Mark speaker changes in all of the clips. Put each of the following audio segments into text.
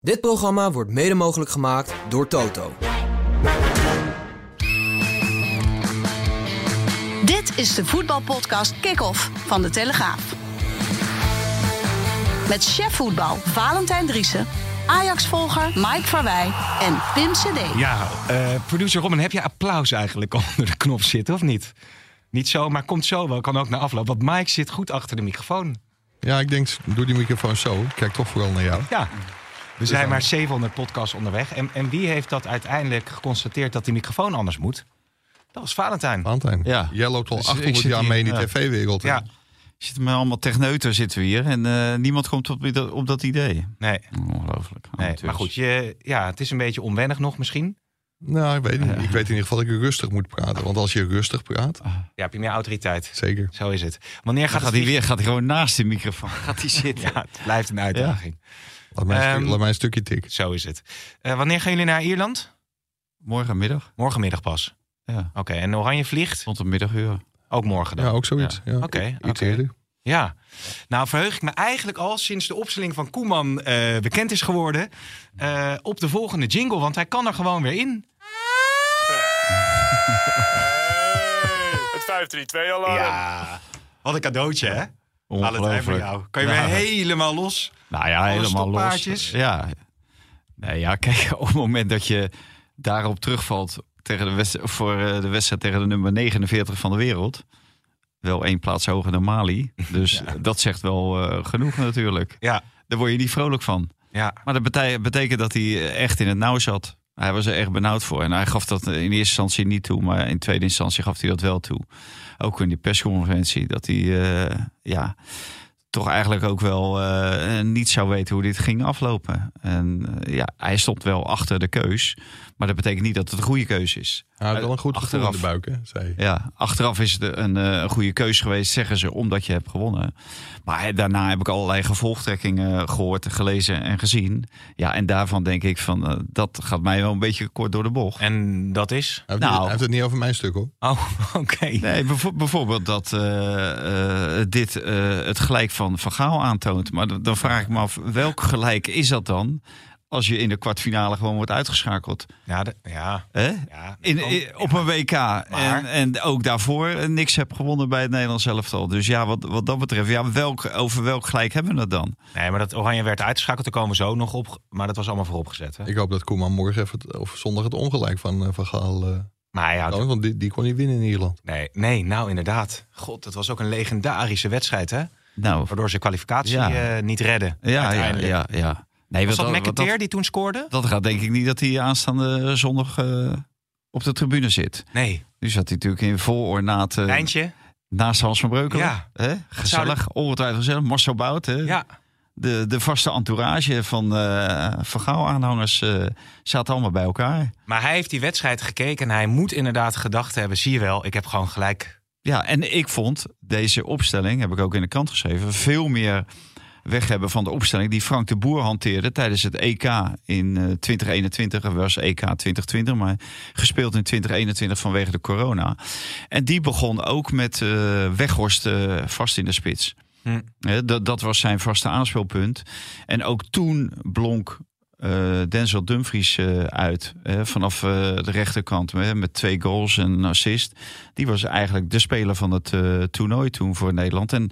Speaker 1: Dit programma wordt mede mogelijk gemaakt door Toto.
Speaker 2: Dit is de voetbalpodcast Kick-Off van De Telegraaf. Met chef voetbal Valentijn Driessen, Ajax-volger Mike Verwij en Pim CD.
Speaker 3: Ja, eh, producer Robin, heb je applaus eigenlijk onder de knop zitten of niet? Niet zo, maar komt zo wel. Kan ook na afloop. Want Mike zit goed achter de microfoon.
Speaker 4: Ja, ik denk, doe die microfoon zo. Ik Kijk toch vooral naar jou.
Speaker 3: Ja. We zijn maar 700 podcasts onderweg. En, en wie heeft dat uiteindelijk geconstateerd dat die microfoon anders moet? Dat was Valentijn.
Speaker 4: Valentijn,
Speaker 5: Ja.
Speaker 4: jij loopt al
Speaker 5: Dus ik
Speaker 4: 800
Speaker 5: zit
Speaker 4: jaar
Speaker 5: hier,
Speaker 4: mee in die
Speaker 5: ja.
Speaker 4: tv-wereld. hè?
Speaker 3: Ja,
Speaker 5: Zitten met allemaal techneuten zitten we hier. En eh, niemand komt op, dat- op dat idee.
Speaker 3: nee.
Speaker 5: Ongelooflijk.
Speaker 3: nee. Maar goed, je, ja, het is een beetje onwennig nog misschien.
Speaker 4: Nou, ik weet niet. Ik weet in ieder geval dat ik rustig moet praten. Want als je rustig praat,
Speaker 3: Ja, heb je meer autoriteit.
Speaker 4: zeker.
Speaker 3: Zo is het. Wanneer
Speaker 5: Dan
Speaker 3: gaat,
Speaker 5: gaat
Speaker 3: het
Speaker 5: hij weer gaat hij gewoon naast de microfoon gaat hij zitten.
Speaker 3: Ja, het blijft een uitdaging.
Speaker 4: Laat mij, een stuk-
Speaker 3: Ehm,
Speaker 4: laat mij een stukje tik.
Speaker 3: Zo is het. Eh, wanneer gaan jullie naar Ierland?
Speaker 5: Morgenmiddag.
Speaker 3: Morgenmiddag pas.
Speaker 5: Ja.
Speaker 3: Oké, en Oranje vliegt?
Speaker 5: Rond een middaguur.
Speaker 3: Ook morgen dan?
Speaker 4: Ja, ook zoiets. Ja.
Speaker 3: Oké,
Speaker 4: Iets
Speaker 3: oké.
Speaker 4: eerder.
Speaker 3: Ja, nou verheug ik me eigenlijk al sinds de opstelling van Koeman eh, bekend is geworden eh, op de volgende jingle, want hij kan er gewoon weer in.
Speaker 6: Het 532-alarm.
Speaker 3: Ja, wat een cadeautje hè? Valentijn voor
Speaker 5: Ongelooflijk.
Speaker 3: jou. Kan je weer
Speaker 5: Ja.
Speaker 3: helemaal los?
Speaker 5: Nou ja,
Speaker 3: Alle
Speaker 5: helemaal
Speaker 3: stokpaardjes.
Speaker 5: los. Ja. Nee, ja, kijk, op het moment dat je daarop terugvalt tegen de wedst- voor eh, de wedstrijd tegen de nummer 49 van de wereld. Wel één plaats hoger dan Mali. Dus dat zegt wel eh, genoeg natuurlijk.
Speaker 3: Ja,
Speaker 5: Daar word je niet vrolijk van.
Speaker 3: ja.
Speaker 5: Maar dat bete- betekent dat hij echt in het nauw zat. Hij was er echt benauwd voor. En hij gaf dat in eerste instantie niet toe, maar in tweede instantie gaf hij dat wel toe. Ook in die persconferentie, dat hij eh, ja, toch eigenlijk ook wel eh, niet zou weten hoe dit ging aflopen. En eh, ja, hij stond wel achter de keus, maar dat betekent niet dat het een goede keus is.
Speaker 4: Hij
Speaker 3: Eh,
Speaker 4: had wel een goed gevoel in de
Speaker 5: Achteraf.
Speaker 4: buik, hè, zei je.
Speaker 5: Ja, achteraf is het een, eh, een goede keus geweest, zeggen ze, omdat je hebt gewonnen. Maar eh, daarna heb ik allerlei gevolgtrekkingen gehoord, gelezen en gezien. Ja, en daarvan denk ik van, eh, dat gaat mij wel een beetje kort door de bocht.
Speaker 3: En dat is?
Speaker 4: Hij heeft,
Speaker 5: Nou.
Speaker 4: niet- hij heeft het niet over mijn stuk, hoor.
Speaker 3: Oh, oké.
Speaker 5: Nee, bijvo- bijvoorbeeld dat eh, eh, dit eh, het gelijk van Van Gaal aantoont. Maar dan- dan vraag ik me af, welk gelijk is dat dan? Als je in de kwartfinale gewoon wordt uitgeschakeld.
Speaker 3: Ja, de- ja.
Speaker 5: Hè?
Speaker 3: ja
Speaker 5: In, in- op een WK. En, en ook daarvoor eh, niks heb gewonnen bij het Nederlands elftal. Dus ja, wat, wat dat betreft, ja, welk, over welk gelijk hebben we het dan?
Speaker 3: Nee, maar dat Oranje werd uitgeschakeld, daar komen we zo nog op. Maar dat was allemaal vooropgezet. Hè?
Speaker 4: Ik hoop dat Koeman morgen even, het- of zondag het ongelijk van, eh, van Gaal... eh,
Speaker 3: Maar hij
Speaker 5: Oh.
Speaker 3: houdt...
Speaker 4: toont, want die, die kon niet winnen in Ierland.
Speaker 3: Nee, nee, nou inderdaad. God, dat was ook een legendarische wedstrijd, hè?
Speaker 5: Nou,
Speaker 3: Waardoor ze kwalificatie
Speaker 5: Ja.
Speaker 3: eh, niet redden.
Speaker 5: ja, ja,
Speaker 3: uiteindelijk.
Speaker 5: ja, ja. Nee,
Speaker 3: Was
Speaker 5: want
Speaker 3: dat
Speaker 5: dat- want
Speaker 3: McAteer die toen scoorde?
Speaker 5: dat, dat gaat denk ik niet dat hij aanstaande zondag eh, op de tribune zit.
Speaker 3: Nee,
Speaker 5: Nu zat hij natuurlijk in vol ornaat eh,
Speaker 3: Eindje.
Speaker 5: naast Hans van Breukelen.
Speaker 3: Ja.
Speaker 5: Hè? Gezellig,
Speaker 3: Zouden-
Speaker 5: ongetwijfeld gezellig. Marcel Bout, hè?
Speaker 3: Ja,
Speaker 5: De, de vaste entourage van eh Van Gaal-aanhangers eh, zaten allemaal bij elkaar.
Speaker 3: maar hij heeft die wedstrijd gekeken en hij moet inderdaad gedacht hebben: zie je wel, ik heb gewoon gelijk.
Speaker 5: Ja, en ik vond deze opstelling, heb ik ook in de krant geschreven, veel meer weg hebben van de opstelling die Frank de Boer hanteerde tijdens het EK in eh, 2021. Er was EK 2020, maar gespeeld in 2021 vanwege de corona. En die begon ook met eh, Weghorst eh, vast in de spits.
Speaker 3: Hm.
Speaker 5: Hè, dat, dat was zijn vaste aanspeelpunt. En ook toen blonk eh, Denzel Dumfries eh, uit hè, vanaf eh, de rechterkant hè, met twee goals en een assist. Die was eigenlijk de speler van het eh, toernooi toen voor Nederland. En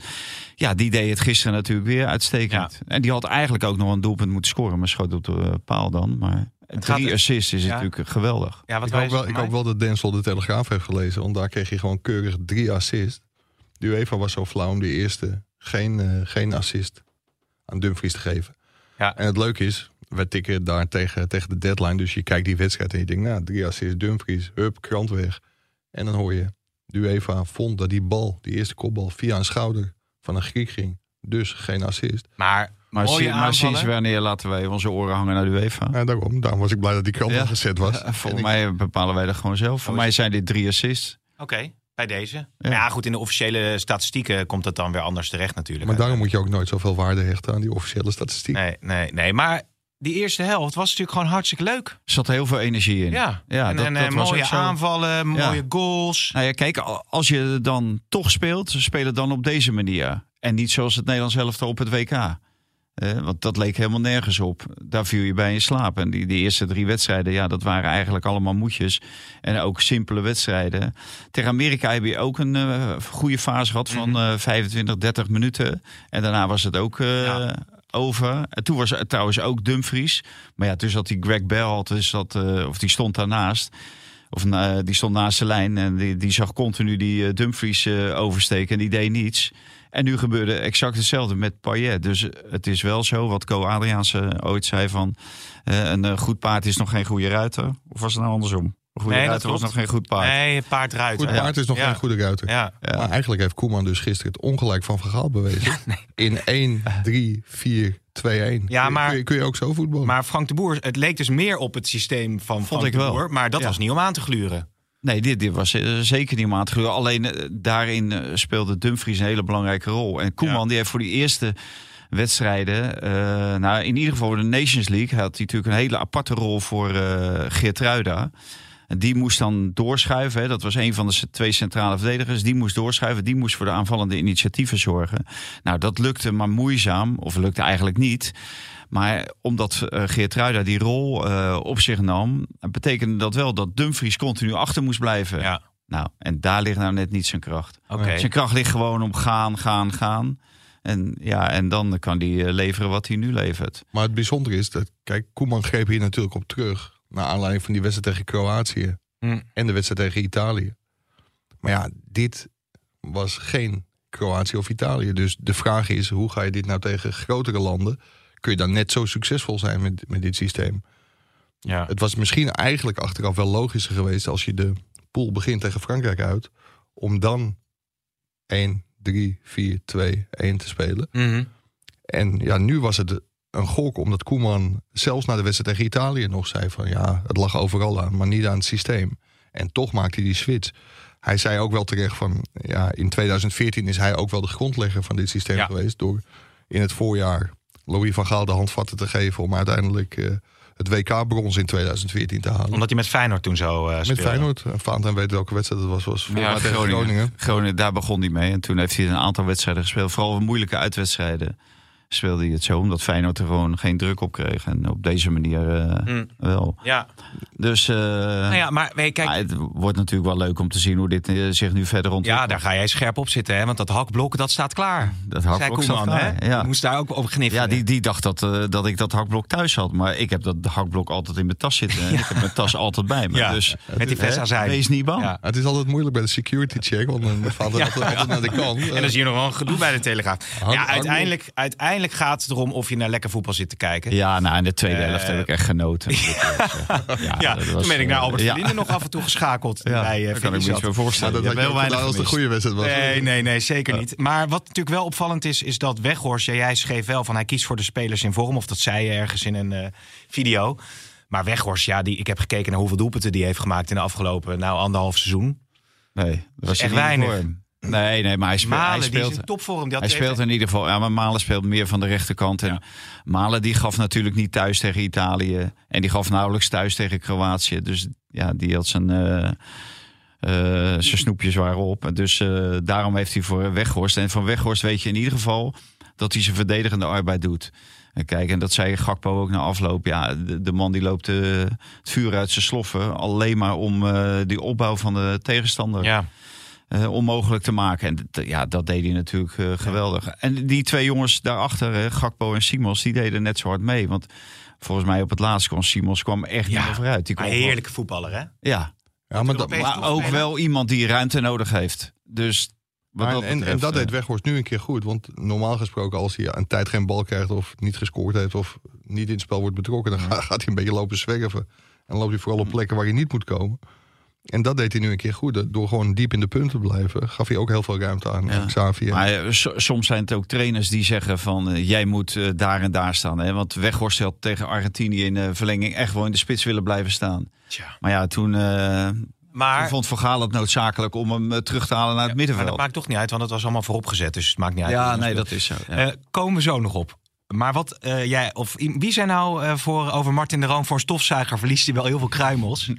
Speaker 5: ja, die deed het gisteren natuurlijk weer uitstekend. En die had eigenlijk ook nog een doelpunt moeten scoren, maar schoot op de eh, paal dan. Maar
Speaker 3: gaat-
Speaker 5: drie assists is
Speaker 3: Ja.
Speaker 5: natuurlijk geweldig.
Speaker 3: Ja, wat
Speaker 4: Ik
Speaker 3: wij-
Speaker 4: hoop, wel, ik hoop wel dat Denzel de Telegraaf heeft gelezen. Want daar kreeg hij gewoon keurig drie assist. De UEFA was zo flauw om die eerste geen, eh, geen assist aan Dumfries te geven.
Speaker 3: Ja.
Speaker 4: En het leuke is, wij tikken daar tegen, tegen de deadline. Dus je kijkt die wedstrijd en je denkt, nou, drie assist, Dumfries, hup, krant weg. En dan hoor je, de UEFA vond dat die bal, die eerste kopbal, via een schouder van een Griek ging. Dus geen assist.
Speaker 3: Maar
Speaker 5: Maar,
Speaker 3: Mooie
Speaker 5: si- maar
Speaker 3: aanvallen.
Speaker 5: sinds wanneer laten wij onze oren hangen naar de UEFA?
Speaker 4: Ja, daarom. Daarom was ik blij dat die krant
Speaker 5: Ja.
Speaker 4: al gezet was.
Speaker 5: Ja,
Speaker 4: En
Speaker 5: volgens
Speaker 4: ik-
Speaker 5: mij bepalen wij dat gewoon zelf. Voor
Speaker 3: Oh, is-
Speaker 5: mij zijn dit drie assists.
Speaker 3: Oké, bij deze. Ja.
Speaker 5: Ja.
Speaker 3: goed, in de officiële statistieken komt dat dan weer anders terecht natuurlijk.
Speaker 4: Maar daarom moet je ook nooit zoveel waarde hechten aan die officiële statistiek.
Speaker 3: Nee, nee, nee. Maar die eerste helft was natuurlijk gewoon hartstikke leuk.
Speaker 5: Er zat heel veel energie in.
Speaker 3: Ja,
Speaker 5: ja
Speaker 3: en,
Speaker 5: dat,
Speaker 3: en,
Speaker 5: dat
Speaker 3: eh,
Speaker 5: was
Speaker 3: mooie
Speaker 5: ook zo.
Speaker 3: aanvallen, mooie goals.
Speaker 5: Nou ja, kijk, al- als je dan toch speelt, speel het dan op deze manier. En niet zoals het Nederlands elftal op het WK. Eh, want dat leek helemaal nergens op. Daar viel je bij in slaap. En die, die eerste drie wedstrijden, ja, dat waren eigenlijk allemaal moetjes. En ook simpele wedstrijden. Tegen Amerika heb je ook een eh, goede fase gehad van eh, 25, 30 minuten. En daarna was het ook eh,
Speaker 3: Ja.
Speaker 5: over. En toen was het trouwens ook Dumfries. Maar ja, toen zat die Greg Bell, toen zat, eh, of die stond daarnaast. Of eh, die stond naast de lijn en die, die zag continu die eh, Dumfries eh, oversteken en die deed niets. En nu gebeurde exact hetzelfde met Payet. Dus het is wel zo wat Co Adriaanse ooit zei van eh, een eh, goed paard is nog geen goede ruiter. Of was het nou andersom? Een goede
Speaker 3: Nee, dat
Speaker 5: ruiter was
Speaker 3: klopt.
Speaker 5: nog geen goed paard.
Speaker 3: Nee, het paard eruit.
Speaker 4: Goed
Speaker 3: hè?
Speaker 4: paard is nog
Speaker 3: Ja.
Speaker 4: geen goede ruiter.
Speaker 3: Ja.
Speaker 5: Ja.
Speaker 4: Maar eigenlijk heeft Koeman dus gisteren het ongelijk van Vergaal bewezen. In 1, 3, 4, 2, 1.
Speaker 3: Ja, maar-
Speaker 4: kun, je, kun je ook zo voetballen.
Speaker 3: Maar Frank de Boer, het leek dus meer op het systeem van Frank
Speaker 5: ik
Speaker 3: de
Speaker 5: wel.
Speaker 3: Boer. Maar dat
Speaker 5: Ja.
Speaker 3: was niet om aan te gluren.
Speaker 5: Nee, dit, dit was eh, zeker niet maat. Alleen eh, daarin eh, speelde Dumfries een hele belangrijke rol. En Koeman
Speaker 3: Ja.
Speaker 5: die heeft voor die eerste wedstrijden... eh, nou, in ieder geval voor de Nations League... had hij natuurlijk een hele aparte rol voor eh Geertruida. En Die moest dan doorschuiven. Hè. Dat was een van de c- twee centrale verdedigers. Die moest doorschuiven. Die moest voor de aanvallende initiatieven zorgen. Nou, dat lukte maar moeizaam. Of lukte eigenlijk niet. Maar omdat eh Geertruida die rol eh, op zich nam... betekende dat wel dat Dumfries continu achter moest blijven.
Speaker 3: Ja.
Speaker 5: Nou, en daar ligt nou net niet zijn kracht.
Speaker 3: Oké.
Speaker 5: Zijn kracht ligt gewoon om gaan, gaan, gaan. En, ja, en dan kan hij eh, leveren wat hij nu levert.
Speaker 4: Maar het bijzondere is dat, kijk, Koeman greep hier natuurlijk op terug. Naar aanleiding van die wedstrijd tegen Kroatië.
Speaker 3: Hm.
Speaker 4: En de wedstrijd tegen Italië. Maar ja, dit was geen Kroatië of Italië. Dus de vraag is, hoe ga je dit nou tegen grotere landen? Kun je dan net zo succesvol zijn met, met dit systeem?
Speaker 3: Ja.
Speaker 4: Het was misschien eigenlijk achteraf wel logischer geweest als je de pool begint tegen Frankrijk uit. Om dan 1, 3, 4, 2, 1 te spelen.
Speaker 3: Mhm.
Speaker 4: En ja, nu was het een gok omdat Koeman zelfs na de wedstrijd tegen Italië nog zei van ja, het lag overal aan, maar niet aan het systeem. En toch maakte hij die switch. Hij zei ook wel terecht van ja, in 2014 is hij ook wel de grondlegger van dit systeem
Speaker 3: Ja.
Speaker 4: geweest door in het voorjaar Louis van Gaal de handvatten te geven om uiteindelijk eh, het WK brons in 2014 te halen.
Speaker 3: Omdat hij met Feyenoord toen zo eh
Speaker 4: Met
Speaker 3: speelde.
Speaker 4: Feyenoord. En Valentijn weet welke wedstrijd het was. was voor mij tegen Groningen.
Speaker 5: Groningen, daar begon hij mee. En toen heeft hij een aantal wedstrijden gespeeld. Vooral moeilijke uitwedstrijden speelde hij het zo. Omdat Feyenoord er gewoon geen druk op kreeg. En op deze manier eh,
Speaker 3: Mm.
Speaker 5: wel.
Speaker 3: Ja.
Speaker 5: Dus eh,
Speaker 3: Nou ja, maar weet je, kijk,
Speaker 5: maar het wordt natuurlijk wel leuk om te zien hoe dit eh, zich nu verder
Speaker 3: Ja,
Speaker 5: ontwikkelt.
Speaker 3: daar ga jij scherp op zitten, hè? Want dat hakblok, dat staat klaar.
Speaker 5: dat had
Speaker 3: Zei
Speaker 5: ik ook
Speaker 3: Koeman,
Speaker 5: zelf
Speaker 3: hè?
Speaker 5: gedaan. Ja.
Speaker 3: Moest daar ook over gniffelen.
Speaker 5: Ja, die, die dacht dat, eh, dat ik dat hakblok thuis had. Maar ik heb dat hakblok altijd in mijn tas zitten. En ik heb mijn tas altijd bij me.
Speaker 3: Ja,
Speaker 5: Dus
Speaker 3: met die vest
Speaker 5: hè,
Speaker 3: aan zijn.
Speaker 5: wees niet bang.
Speaker 3: Ja.
Speaker 4: Het is altijd moeilijk bij de security check, want dan valt het altijd, altijd naar de kant.
Speaker 3: En dan is hier nog wel een gedoe bij de Telegraaf. Ja,
Speaker 4: hang-
Speaker 3: uiteindelijk, uiteindelijk gaat het erom of je naar lekker voetbal zit te kijken.
Speaker 5: Ja, nou, in de tweede
Speaker 3: Eh,
Speaker 5: helft heb ik echt genoten. moet ik eerlijk zeggen.
Speaker 3: Ja,
Speaker 5: dat
Speaker 3: toen ben ik naar
Speaker 5: eh,
Speaker 3: Albert
Speaker 5: ja.
Speaker 3: Verlinde nog af en toe geschakeld. bij,
Speaker 5: Ja,
Speaker 3: eh
Speaker 5: daar kan ik me
Speaker 3: Videozat.
Speaker 5: iets meer voorstellen.
Speaker 4: dat
Speaker 5: Je hebt
Speaker 4: heel weinig als de
Speaker 5: gemist.
Speaker 4: goede wedstrijd was.
Speaker 3: Nee, nee, nee, zeker niet. Maar wat natuurlijk wel opvallend is, is dat Weghorst... Ja, jij schreef wel van hij kiest voor de spelers in vorm. Of dat zei je ergens in een eh, video. Maar Weghorst, ja, die, ik heb gekeken naar hoeveel doelpunten die heeft gemaakt... in de afgelopen, nou, anderhalf seizoen.
Speaker 5: Nee, dat was
Speaker 3: echt
Speaker 5: in ieder
Speaker 3: weinig.
Speaker 5: vorm. Nee, nee, maar hij speelt...
Speaker 3: Malen,
Speaker 5: hij
Speaker 3: die
Speaker 5: speelt
Speaker 3: is in topvorm. Die had
Speaker 5: hij
Speaker 3: twee-
Speaker 5: speelt in ieder geval, ja, maar Malen speelt meer van de rechterkant. En Malen die gaf natuurlijk niet thuis tegen Italië. En die gaf nauwelijks thuis tegen Kroatië. Dus ja, die had zijn, eh, eh, zijn snoepjes waren op. En Dus eh, daarom heeft hij voor Weghorst. En van Weghorst weet je in ieder geval dat hij zijn verdedigende arbeid doet. En kijk, en dat zei Gakpo ook na afloop. Ja, de, de man die loopt eh, het vuur uit zijn sloffen. Alleen maar om eh, die opbouw van de tegenstander
Speaker 3: Ja,
Speaker 5: eh, onmogelijk te maken. En d- ja, dat deed hij natuurlijk eh, geweldig. En die twee jongens daarachter, eh, Gakpo en Simons, die deden net zo hard mee. Want volgens mij op het laatst kwam Simons kwam echt
Speaker 3: Ja, Ah,
Speaker 5: niet meer vooruit. Die
Speaker 3: maar
Speaker 5: kwam
Speaker 3: heerlijke voetballer, hè?
Speaker 5: gewoon- Ja,
Speaker 4: Ja, maar dat,
Speaker 3: Europees
Speaker 5: maar ook
Speaker 3: topspeler.
Speaker 5: wel iemand die ruimte nodig heeft. Dus wat
Speaker 4: maar
Speaker 5: dat
Speaker 4: en, en
Speaker 5: betreft,
Speaker 4: dat
Speaker 5: eh,
Speaker 4: deed Weghorst nu een keer goed. Want normaal gesproken, als hij een tijd geen bal krijgt... of niet gescoord heeft of niet in het spel wordt betrokken... dan ga- gaat hij een beetje lopen zwerven. En loopt hij vooral op plekken waar hij niet moet komen. En dat deed hij nu een keer goed. Door gewoon diep in de punten te blijven, gaf hij ook heel veel ruimte aan
Speaker 5: Ja.
Speaker 4: aan Xavier.
Speaker 5: Maar eh, so- soms zijn het ook trainers die zeggen van eh, jij moet eh, daar en daar staan. Hè? Want Weghorst had tegen Argentinië in eh, verlenging echt gewoon in de spits willen blijven staan.
Speaker 3: Tja.
Speaker 5: Maar ja, toen, eh, toen
Speaker 3: Maar,
Speaker 5: vond Van Gaal het noodzakelijk om hem eh, terug te halen naar het
Speaker 3: maar dat
Speaker 5: middenveld.
Speaker 3: maakt toch niet uit, want het was allemaal vooropgezet. Dus het maakt niet uit.
Speaker 5: ja, nee, dat is zo. ja.
Speaker 3: Eh, komen we zo nog op. Maar wat, eh, jij, of, i- wie zijn nou eh, voor, over Martin de Roon voor een stofzuiger? Verliest hij wel heel veel kruimels?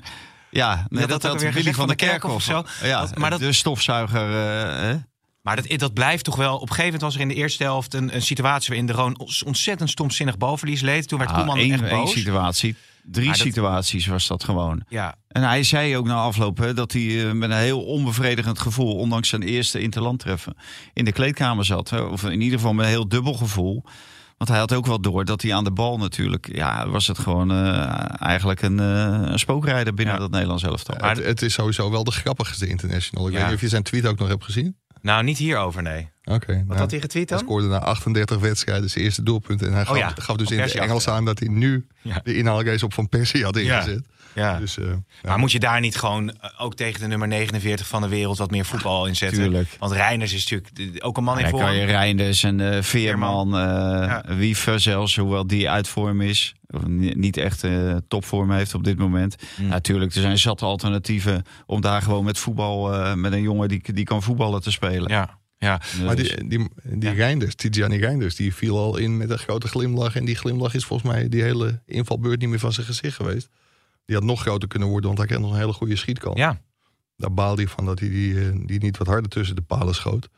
Speaker 5: Ja, nee,
Speaker 3: had
Speaker 5: dat
Speaker 3: ook
Speaker 5: had
Speaker 3: weer
Speaker 5: Willy
Speaker 3: gezegd
Speaker 5: van der Kerkhoff
Speaker 3: of zo.
Speaker 5: Ja,
Speaker 3: Dat- maar dat-
Speaker 5: de stofzuiger. eh, hè?
Speaker 3: Maar dat, dat blijft toch wel. Op een gegeven moment was er in de eerste helft een, een situatie waarin de Roon ons- ontzettend stomzinnig balverlies leed. Toen werd
Speaker 5: Ah,
Speaker 3: Koeman
Speaker 5: één-
Speaker 3: echt
Speaker 5: één
Speaker 3: boos.
Speaker 5: situatie. Drie
Speaker 3: Maar dat-
Speaker 5: situaties was dat gewoon.
Speaker 3: Ja,
Speaker 5: En hij zei ook na afloop hè, dat hij eh, met een heel onbevredigend gevoel, ondanks zijn eerste interlandtreffen, in de kleedkamer zat. Hè. Of in ieder geval met een heel dubbel gevoel. Want hij had ook wel door dat hij aan de bal natuurlijk. Ja, was het gewoon eh, eigenlijk een, eh, een spookrijder binnen
Speaker 3: Ja.
Speaker 5: dat Nederlands elftal.
Speaker 4: het, het is sowieso wel de grappigste international. Ik
Speaker 3: Ja.
Speaker 4: weet niet of je zijn tweet ook nog hebt gezien.
Speaker 3: nou niet hierover, nee.
Speaker 4: Oké.
Speaker 3: Wat
Speaker 4: nou,
Speaker 3: had hij getweet
Speaker 4: hij
Speaker 3: dan? Oh
Speaker 4: scoorde na 38 wedstrijden zijn eerste doelpunt. En hij gaf,
Speaker 3: ja,
Speaker 4: gaf dus
Speaker 3: op
Speaker 4: in het
Speaker 3: Persie
Speaker 4: Engels
Speaker 3: achter.
Speaker 4: aan dat hij nu
Speaker 3: Ja.
Speaker 4: de inhaalrace op Van Persie had
Speaker 3: Ja.
Speaker 4: ingezet.
Speaker 3: Ja.
Speaker 4: Dus, eh, ja.
Speaker 3: Maar moet je daar niet gewoon eh, ook tegen de nummer 49 van de wereld wat meer voetbal inzetten?
Speaker 5: tuurlijk.
Speaker 3: Want Reiners is natuurlijk eh, ook een man in
Speaker 5: Dan kan je
Speaker 3: vorm.
Speaker 5: Reinders en eh, Veerman, eh Wiever zelfs, hoewel die uit vorm is. Of ni- niet echt eh, topvorm heeft op dit moment.
Speaker 3: Hmm.
Speaker 5: Natuurlijk, er zijn zat alternatieven om daar gewoon met voetbal, eh, met een jongen die, die kan voetballen te spelen.
Speaker 3: Ja, ja.
Speaker 4: Maar
Speaker 5: Dus-
Speaker 4: die, die, die Reinders, Tijani Reinders, die viel al in met een grote glimlach. En die glimlach is volgens mij die hele invalbeurt niet meer van zijn gezicht geweest. Die had nog groter kunnen worden, want hij kent nog een hele goede schietkant.
Speaker 3: ja.
Speaker 4: Daar baalde hij van dat hij die, eh, die niet wat harder tussen de palen schoot.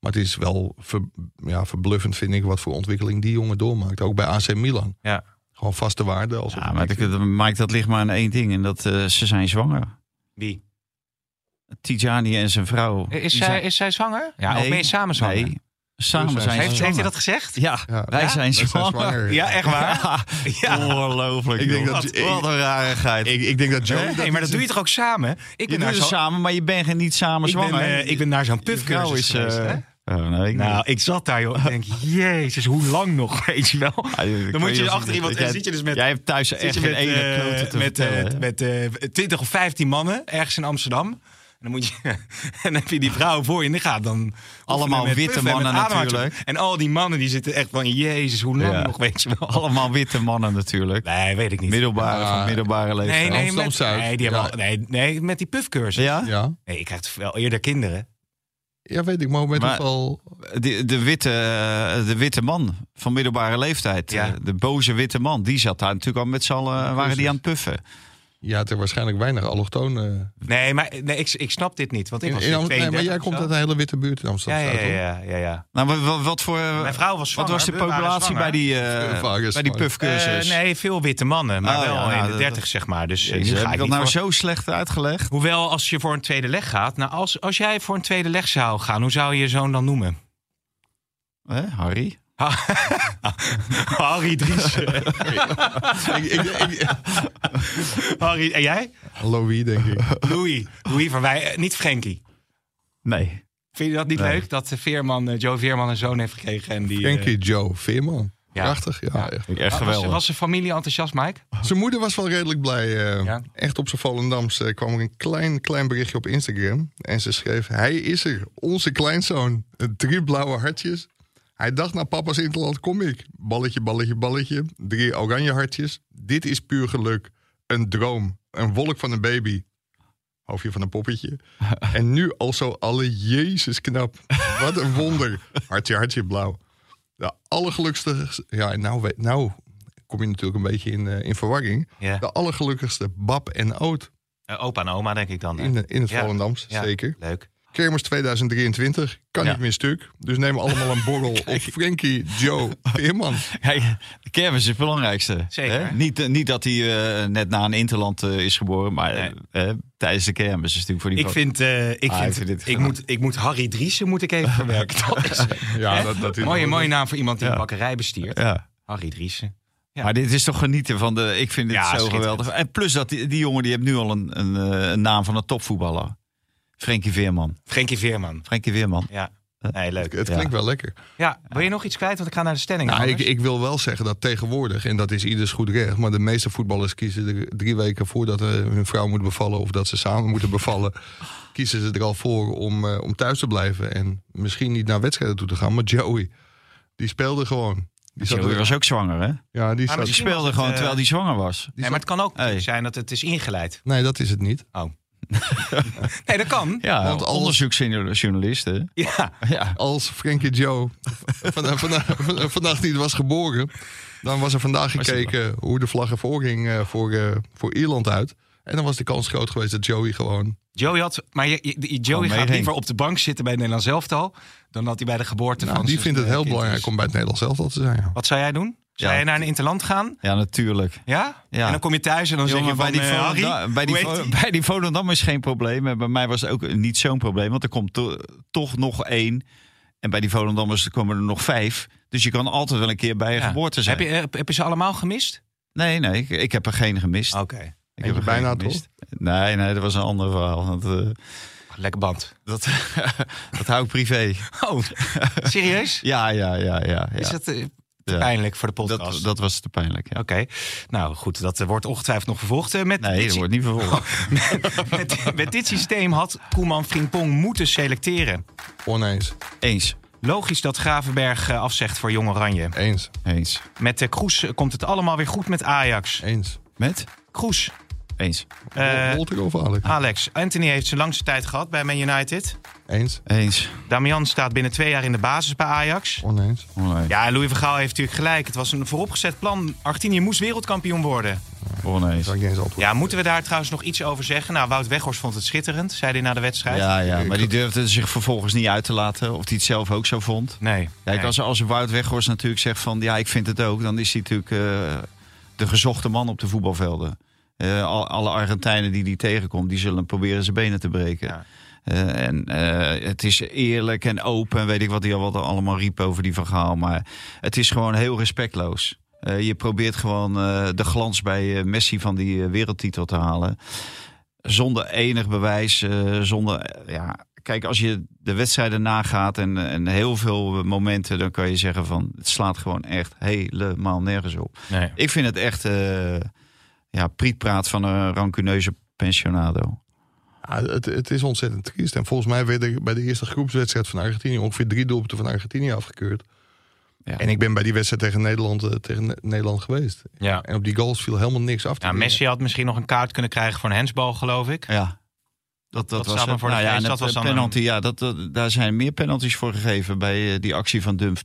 Speaker 4: Maar het is wel ver- ja, verbluffend, vind ik, wat voor ontwikkeling die jongen doormaakt. Ook bij AC Milan.
Speaker 3: Ja.
Speaker 4: Gewoon vaste waarde. Als
Speaker 5: Ja, maar dat, Mike, dat ligt maar aan één ding. En dat eh, ze zijn zwanger.
Speaker 3: Wie?
Speaker 5: Tijani en zijn vrouw. die
Speaker 3: Is zij,
Speaker 5: zijn-
Speaker 3: is zij zwanger? Ja, of
Speaker 5: Nee,
Speaker 3: ben je samen zwanger?
Speaker 5: Nee, samen
Speaker 4: Hoe
Speaker 5: zijn,
Speaker 4: zijn ze
Speaker 3: Heeft, heeft
Speaker 5: ze
Speaker 3: hij
Speaker 5: zwanger.
Speaker 3: dat gezegd?
Speaker 5: Ja,
Speaker 4: Ja,
Speaker 5: wij
Speaker 3: ja,
Speaker 5: zijn
Speaker 4: wij zijn
Speaker 5: zwanger.
Speaker 4: zwanger.
Speaker 3: Ja, echt waar? Ja.
Speaker 5: Oh, Ongelooflijk.
Speaker 4: Ik denk
Speaker 5: joh.
Speaker 4: dat-
Speaker 5: wat,
Speaker 4: ik-
Speaker 5: wat een rarigheid.
Speaker 4: Ik, ik denk dat Joey...
Speaker 3: Nee, maar dat doe je toch ook samen? Ik
Speaker 5: Je
Speaker 3: ben
Speaker 5: doet
Speaker 3: naar
Speaker 5: het
Speaker 3: zo'n-
Speaker 5: samen, maar je bent er niet samen
Speaker 3: ik ben,
Speaker 5: zwanger.
Speaker 3: eh, ik ben naar zo'n pufcursus
Speaker 5: is. eh,
Speaker 3: geweest, dus hè?
Speaker 5: oh, nee, ik
Speaker 3: Nou, ik zat daar, joh. Ik denk, jezus, hoe lang nog, weet je wel?
Speaker 5: Ah, ik
Speaker 3: Dan
Speaker 5: weet
Speaker 3: moet je
Speaker 5: niet of-
Speaker 3: achter iemand...
Speaker 5: jij-
Speaker 3: en zit je dus met...
Speaker 5: Jij hebt thuis
Speaker 3: zit
Speaker 5: echt
Speaker 3: je
Speaker 5: geen
Speaker 3: met,
Speaker 5: ene
Speaker 3: eh,
Speaker 5: klote te
Speaker 3: met, eh,
Speaker 5: vertellen, hè?
Speaker 3: met eh, 20 of 15 mannen, ergens in Amsterdam. En dan, moet je, en dan heb je die vrouw voor je in de gaten. Dan
Speaker 5: Allemaal
Speaker 3: met
Speaker 5: witte
Speaker 3: puffen en met
Speaker 5: mannen
Speaker 3: ademhaling.
Speaker 5: natuurlijk.
Speaker 3: En al die mannen die zitten echt van, jezus, hoe lang
Speaker 5: Ja.
Speaker 3: nog, weet je wel?
Speaker 5: Allemaal witte mannen natuurlijk.
Speaker 3: Nee, weet ik niet. Ah.
Speaker 5: Middelbare van
Speaker 4: Ja.
Speaker 5: middelbare leeftijd.
Speaker 3: Nee, nee, met,
Speaker 4: Amsterdam-Zuid.
Speaker 3: nee, die hebben
Speaker 4: Ja.
Speaker 3: al- nee, nee, met die pufcursus.
Speaker 5: Ja?
Speaker 4: Ja,
Speaker 3: Nee, je krijgt wel eerder kinderen.
Speaker 4: ja, weet ik, maar met
Speaker 5: Maar-
Speaker 4: geval...
Speaker 5: De, de, witte, eh, de witte man van middelbare leeftijd.
Speaker 3: Ja.
Speaker 5: eh, De boze witte man. Die zat daar natuurlijk al met z'n allen. Waren die aan het puffen?
Speaker 4: Je had er waarschijnlijk weinig allochtonen...
Speaker 3: Nee, maar nee, ik, ik snap dit niet. Want ik
Speaker 4: In,
Speaker 3: was
Speaker 4: in Am- nee, maar
Speaker 3: 32
Speaker 4: jij
Speaker 3: of
Speaker 4: komt
Speaker 3: zo.
Speaker 4: uit een hele witte buurt in
Speaker 3: Ja, ja,
Speaker 4: Amsterdam.
Speaker 3: ja, ja, ja, ja.
Speaker 5: Nou, wa- wa- wat, voor. eh,
Speaker 3: Mijn vrouw was
Speaker 5: wat
Speaker 3: zwanger.
Speaker 5: was de
Speaker 3: we waren
Speaker 5: populatie
Speaker 3: zwanger.
Speaker 5: bij die, eh
Speaker 4: Veel vrouwen
Speaker 5: bij die
Speaker 4: zwanger.
Speaker 5: puffcursus?
Speaker 3: Eh, nee, veel witte mannen, maar
Speaker 5: Oh,
Speaker 3: wel
Speaker 5: ja,
Speaker 3: in
Speaker 5: nou,
Speaker 3: de
Speaker 5: dat-
Speaker 3: 30, zeg maar. Dus eh,
Speaker 5: Jezus,
Speaker 3: nu
Speaker 5: heb
Speaker 3: ga
Speaker 5: ik
Speaker 3: ik
Speaker 5: dat
Speaker 3: niet
Speaker 5: nou
Speaker 3: voor-
Speaker 5: zo slecht uitgelegd?
Speaker 3: Hoewel, als je voor een tweede leg gaat... Nou, als, als jij voor een tweede leg zou gaan, hoe zou je je zoon dan noemen?
Speaker 5: Hè, Harry?
Speaker 3: Harry Dries.
Speaker 4: Ik, ik, ik,
Speaker 3: Harry, en jij?
Speaker 4: Louis, denk ik.
Speaker 3: Louis. Louis van Wij, eh, niet Frenkie.
Speaker 5: Nee.
Speaker 3: Vind je dat niet
Speaker 5: Nee.
Speaker 3: leuk, dat eh, Veerman, eh, Joe Veerman een zoon heeft gekregen? En die, eh,
Speaker 4: Frankie Joe Veerman.
Speaker 3: Ja.
Speaker 4: Prachtig, ja.
Speaker 3: Ja.
Speaker 4: Echt.
Speaker 5: Echt
Speaker 3: Ah, was,
Speaker 5: geweldig.
Speaker 3: was zijn familie enthousiast, Mike?
Speaker 4: Zijn moeder was wel redelijk blij. eh,
Speaker 3: Ja.
Speaker 4: Echt op zijn Volendams eh, kwam er een klein, klein berichtje op Instagram. En ze schreef, hij is er, onze kleinzoon. Drie blauwe hartjes. Hij dacht, naar papa's interland kom ik. Balletje, balletje, balletje. Drie oranje hartjes. Dit is puur geluk. Een droom. Een wolk van een baby. Hoofdje van een poppetje. En nu al zo alle Jezus knap. Wat een wonder. Hartje, hartje blauw. De allergelukkigste... Ja, en nou, we- nou kom je natuurlijk een beetje in, eh, in verwarring.
Speaker 3: Ja.
Speaker 4: De allergelukkigste Bab en Oud
Speaker 3: Eh, opa en oma, denk ik dan. hè?
Speaker 4: in, de- in het
Speaker 3: Ja.
Speaker 4: Volendams,
Speaker 3: Ja,
Speaker 4: zeker.
Speaker 3: Leuk.
Speaker 4: Kermis 2023, kan
Speaker 5: Ja.
Speaker 4: niet meer stuk. Dus neem allemaal een borrel op Frankie, Joe, Veerman.
Speaker 5: Kijk, de kermis is het belangrijkste.
Speaker 3: Zeker.
Speaker 5: Hè? Niet, eh, niet dat hij eh, net na een interland eh, is geboren, maar eh, eh, tijdens de kermis is natuurlijk voor die
Speaker 3: Ik vind, eh, ik,
Speaker 5: Ah, ik
Speaker 3: vind,
Speaker 5: vind
Speaker 3: ik,
Speaker 5: dit geweldig.
Speaker 3: moet, ik moet Harry Driessen moet ik even verwerken. Dat is,
Speaker 4: Ja, dat, dat is
Speaker 3: mooie, mooie naam voor iemand die
Speaker 5: Ja.
Speaker 3: een bakkerij bestiert.
Speaker 5: Ja.
Speaker 3: Harry Driessen. Ja.
Speaker 5: Maar dit is toch genieten van de. Ik vind dit
Speaker 3: Ja,
Speaker 5: zo
Speaker 3: schitterend.
Speaker 5: geweldig. En plus dat die, die jongen die heeft nu al een, een, eh, een naam van een topvoetballer. Frenkie Veerman.
Speaker 3: Frenkie Veerman.
Speaker 5: Frenkie Veerman.
Speaker 3: Ja. Nee, leuk.
Speaker 4: Het klinkt wel lekker.
Speaker 3: Ja, wil je nog iets kwijt? Want ik ga naar de stelling.
Speaker 4: Nou, ik,
Speaker 3: anders.
Speaker 4: ik wil wel zeggen dat tegenwoordig, en dat is ieders goed recht, maar de meeste voetballers kiezen er drie weken voordat eh, hun vrouw moet bevallen of dat ze samen moeten bevallen, kiezen ze er al voor om, eh, om thuis te blijven en misschien niet naar wedstrijden toe te gaan. Maar Joey, die speelde gewoon. Die zat
Speaker 5: Joey
Speaker 4: er-
Speaker 5: was ook zwanger, hè?
Speaker 4: Ja, die
Speaker 3: Ah, maar
Speaker 4: zat,
Speaker 5: Die
Speaker 3: Misschien was
Speaker 5: speelde
Speaker 3: het,
Speaker 5: gewoon
Speaker 3: eh,
Speaker 5: terwijl die zwanger was.
Speaker 3: Nee, maar het kan ook
Speaker 5: Hey.
Speaker 3: zijn dat het is ingeleid. Oh.
Speaker 4: Nee, dat is het niet.
Speaker 3: Nee, dat kan. Ja.
Speaker 5: Ja,
Speaker 4: Want
Speaker 5: want
Speaker 4: alles-
Speaker 5: onderzoeksjournalisten. Ja.
Speaker 4: Als Frankie Joe vandaag, vandaag, vandaag niet was geboren, dan was er vandaag
Speaker 5: Was hij
Speaker 4: gekeken hoe de vlag ervoor ging eh, voor, eh, voor Ierland uit. En dan was de kans groot geweest dat Joey gewoon
Speaker 3: Joey had, maar je, je- je-
Speaker 5: Gewoon
Speaker 3: Joey gaat
Speaker 5: meedenken.
Speaker 3: liever op de bank zitten bij het Nederlands elftal dan dat hij bij de geboorte
Speaker 4: Nou,
Speaker 3: van.
Speaker 4: die
Speaker 3: zijn,
Speaker 4: vindt het
Speaker 3: eh,
Speaker 4: heel
Speaker 3: kind is.
Speaker 4: belangrijk om bij het Nederlands elftal te zijn. Ja.
Speaker 3: Wat zou jij doen? Zou
Speaker 5: Ja.
Speaker 3: jij naar een interland gaan?
Speaker 5: ja, natuurlijk.
Speaker 3: Ja?
Speaker 5: Ja.
Speaker 3: En dan kom je thuis en dan zeg
Speaker 5: Jongen,
Speaker 3: je
Speaker 5: bij,
Speaker 3: van,
Speaker 5: die
Speaker 3: eh, Harry,
Speaker 5: Volendam, bij, die
Speaker 3: hoe heet
Speaker 5: Vo-
Speaker 3: die?
Speaker 5: bij die Volendam is geen probleem. En bij mij was het ook niet zo'n probleem. Want er komt to- toch nog één. En bij die Volendammers komen er nog vijf. Dus je kan altijd wel een keer bij je
Speaker 3: Ja.
Speaker 5: geboorte zijn.
Speaker 3: heb, je, heb, heb je ze allemaal gemist?
Speaker 5: Nee, nee, ik, ik heb er geen gemist.
Speaker 3: Oké.
Speaker 5: ik
Speaker 4: je
Speaker 5: heb er
Speaker 4: bijna,
Speaker 5: geen gemist. Nee, nee, dat was een ander verhaal. Want, eh,
Speaker 3: Lekker band.
Speaker 5: dat, dat hou ik privé.
Speaker 3: Oh, serieus?
Speaker 5: Ja, ja, ja, ja. ja.
Speaker 3: Is dat eh, te
Speaker 5: Ja.
Speaker 3: pijnlijk voor de podcast?
Speaker 5: dat, dat was te pijnlijk. Ja.
Speaker 3: Oké. Nou goed, dat eh, wordt ongetwijfeld nog vervolgd. eh, met,
Speaker 5: Nee,
Speaker 3: dit,
Speaker 5: dat
Speaker 3: sy-
Speaker 5: wordt niet vervolgd.
Speaker 3: met, met dit systeem had Koeman Frimpong moeten selecteren.
Speaker 4: Oneens.
Speaker 3: Oh.
Speaker 5: Eens.
Speaker 3: Logisch dat Gravenberg eh, afzegt voor Jong Oranje.
Speaker 4: Eens.
Speaker 5: Eens.
Speaker 3: Met de Kroes eh, komt het allemaal weer goed met Ajax.
Speaker 4: Eens.
Speaker 5: Met?
Speaker 3: Kroes,
Speaker 5: Eens.
Speaker 3: eh,
Speaker 4: Wolter of Alek?
Speaker 3: Alex, Anthony heeft zijn langste tijd gehad bij Man United.
Speaker 4: Eens.
Speaker 5: Eens.
Speaker 3: Damian staat binnen twee jaar in de basis bij Ajax.
Speaker 4: Oneens.
Speaker 5: Oneens.
Speaker 3: Ja, Louis van Gaal heeft natuurlijk gelijk. Het was een vooropgezet plan. Argentinië moest wereldkampioen worden.
Speaker 5: Oneens.
Speaker 4: Zou ik niet eens antwoorden.
Speaker 3: Ja, moeten we daar trouwens nog iets over zeggen? Nou, Wout Weghorst vond het schitterend, zei hij na de wedstrijd.
Speaker 5: Ja, ja, maar die durfde zich vervolgens niet uit te laten. Of die het zelf ook zo vond.
Speaker 3: Nee.
Speaker 5: Kijk,
Speaker 3: nee.
Speaker 5: als, als Wout Weghorst natuurlijk zegt van... ja, ik vind het ook, dan is hij natuurlijk eh, de gezochte man op de voetbalvelden. Eh, al- alle Argentijnen die die tegenkomt, die zullen proberen zijn benen te breken.
Speaker 3: Ja.
Speaker 5: Eh, en eh, het is eerlijk en open en weet ik wat hij al wat allemaal riep over die verhaal. Maar het is gewoon heel respectloos. Eh, je probeert gewoon eh, de glans bij eh, Messi van die eh, wereldtitel te halen. Zonder enig bewijs, eh, zonder... eh, ja, kijk, als je de wedstrijden nagaat en, eh, en heel veel momenten... dan kan je zeggen van, het slaat gewoon echt helemaal nergens op.
Speaker 3: Nee.
Speaker 5: Ik vind het echt eh ja, prietpraat van een rancuneuze pensionado.
Speaker 4: Ja, Ah, het, het is ontzettend triest. En volgens mij werd er bij de eerste groepswedstrijd van Argentinië ongeveer drie doelpunten van Argentinië afgekeurd.
Speaker 5: Ja.
Speaker 4: En ik ben bij die wedstrijd tegen Nederland, eh, tegen Ne- Nederland geweest.
Speaker 3: Ja.
Speaker 4: En op die goals viel helemaal niks af. te
Speaker 3: Ja,
Speaker 4: dingen.
Speaker 3: Messi had misschien nog een kaart kunnen krijgen voor een handsbal, geloof ik.
Speaker 5: Ja. Dat, dat,
Speaker 3: Dat
Speaker 5: was
Speaker 3: staat
Speaker 5: het.
Speaker 3: me voor de
Speaker 5: Nou ja,
Speaker 3: geest.
Speaker 5: en
Speaker 3: Dat
Speaker 5: het,
Speaker 3: was
Speaker 5: eh,
Speaker 3: dan
Speaker 5: penalty, ja, dat, dat- daar zijn meer penalties voor gegeven bij eh, die actie van Dumf.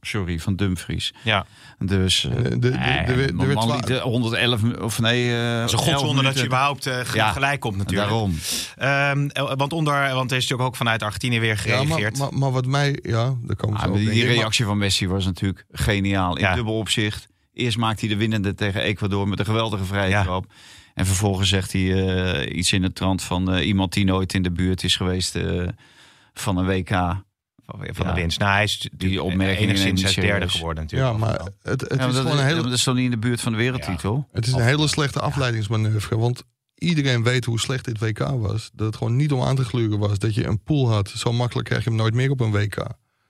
Speaker 5: Sorry, van Dumfries.
Speaker 3: Ja.
Speaker 5: Dus eh,
Speaker 4: De- de- de-
Speaker 5: nou ja,
Speaker 4: de- de-
Speaker 5: man
Speaker 4: de-
Speaker 5: liet, eh, 111 mi- of nee, eh
Speaker 3: Het is een
Speaker 5: 11
Speaker 3: godswonder dat je
Speaker 5: minuten.
Speaker 3: überhaupt eh, ge-
Speaker 5: Ja.
Speaker 3: gelijk komt natuurlijk.
Speaker 5: Daarom.
Speaker 3: Ehm, eh, want, onder, want er is natuurlijk ook vanuit Argentinië weer
Speaker 4: Ja,
Speaker 3: gereageerd.
Speaker 4: maar, maar, maar wat mij... Ja, daar komen we
Speaker 5: Ah,
Speaker 4: zo
Speaker 5: maar
Speaker 4: op,
Speaker 5: die,
Speaker 4: denk
Speaker 5: die
Speaker 4: ik. Maar
Speaker 5: reactie van Messi was natuurlijk geniaal in
Speaker 3: Ja.
Speaker 5: dubbel opzicht. Eerst maakt hij de winnende tegen Ecuador met een geweldige vrije
Speaker 3: Ja.
Speaker 5: trap. En vervolgens zegt hij eh, iets in de trant van eh, iemand die nooit in de buurt is geweest eh, van een WK.
Speaker 3: Van van
Speaker 5: Ja.
Speaker 3: de winst. Nou, hij is natuurlijk
Speaker 5: opmerkingen nemen
Speaker 3: enigszins
Speaker 5: niet
Speaker 3: als derde
Speaker 5: serieus.
Speaker 3: geworden natuurlijk.
Speaker 4: Ja, maar het, het
Speaker 5: Ja,
Speaker 4: is
Speaker 5: maar dat,
Speaker 4: gewoon een
Speaker 5: ja,
Speaker 4: hele...
Speaker 5: maar dat is dan niet in de buurt van de wereldtitel.
Speaker 4: Het is een hele slechte afleidingsmanoeuvre. Want iedereen weet hoe slecht dit WK was. Dat het gewoon niet om aan te gluren was. Dat je een pool had. Zo makkelijk krijg je hem nooit meer op een WK.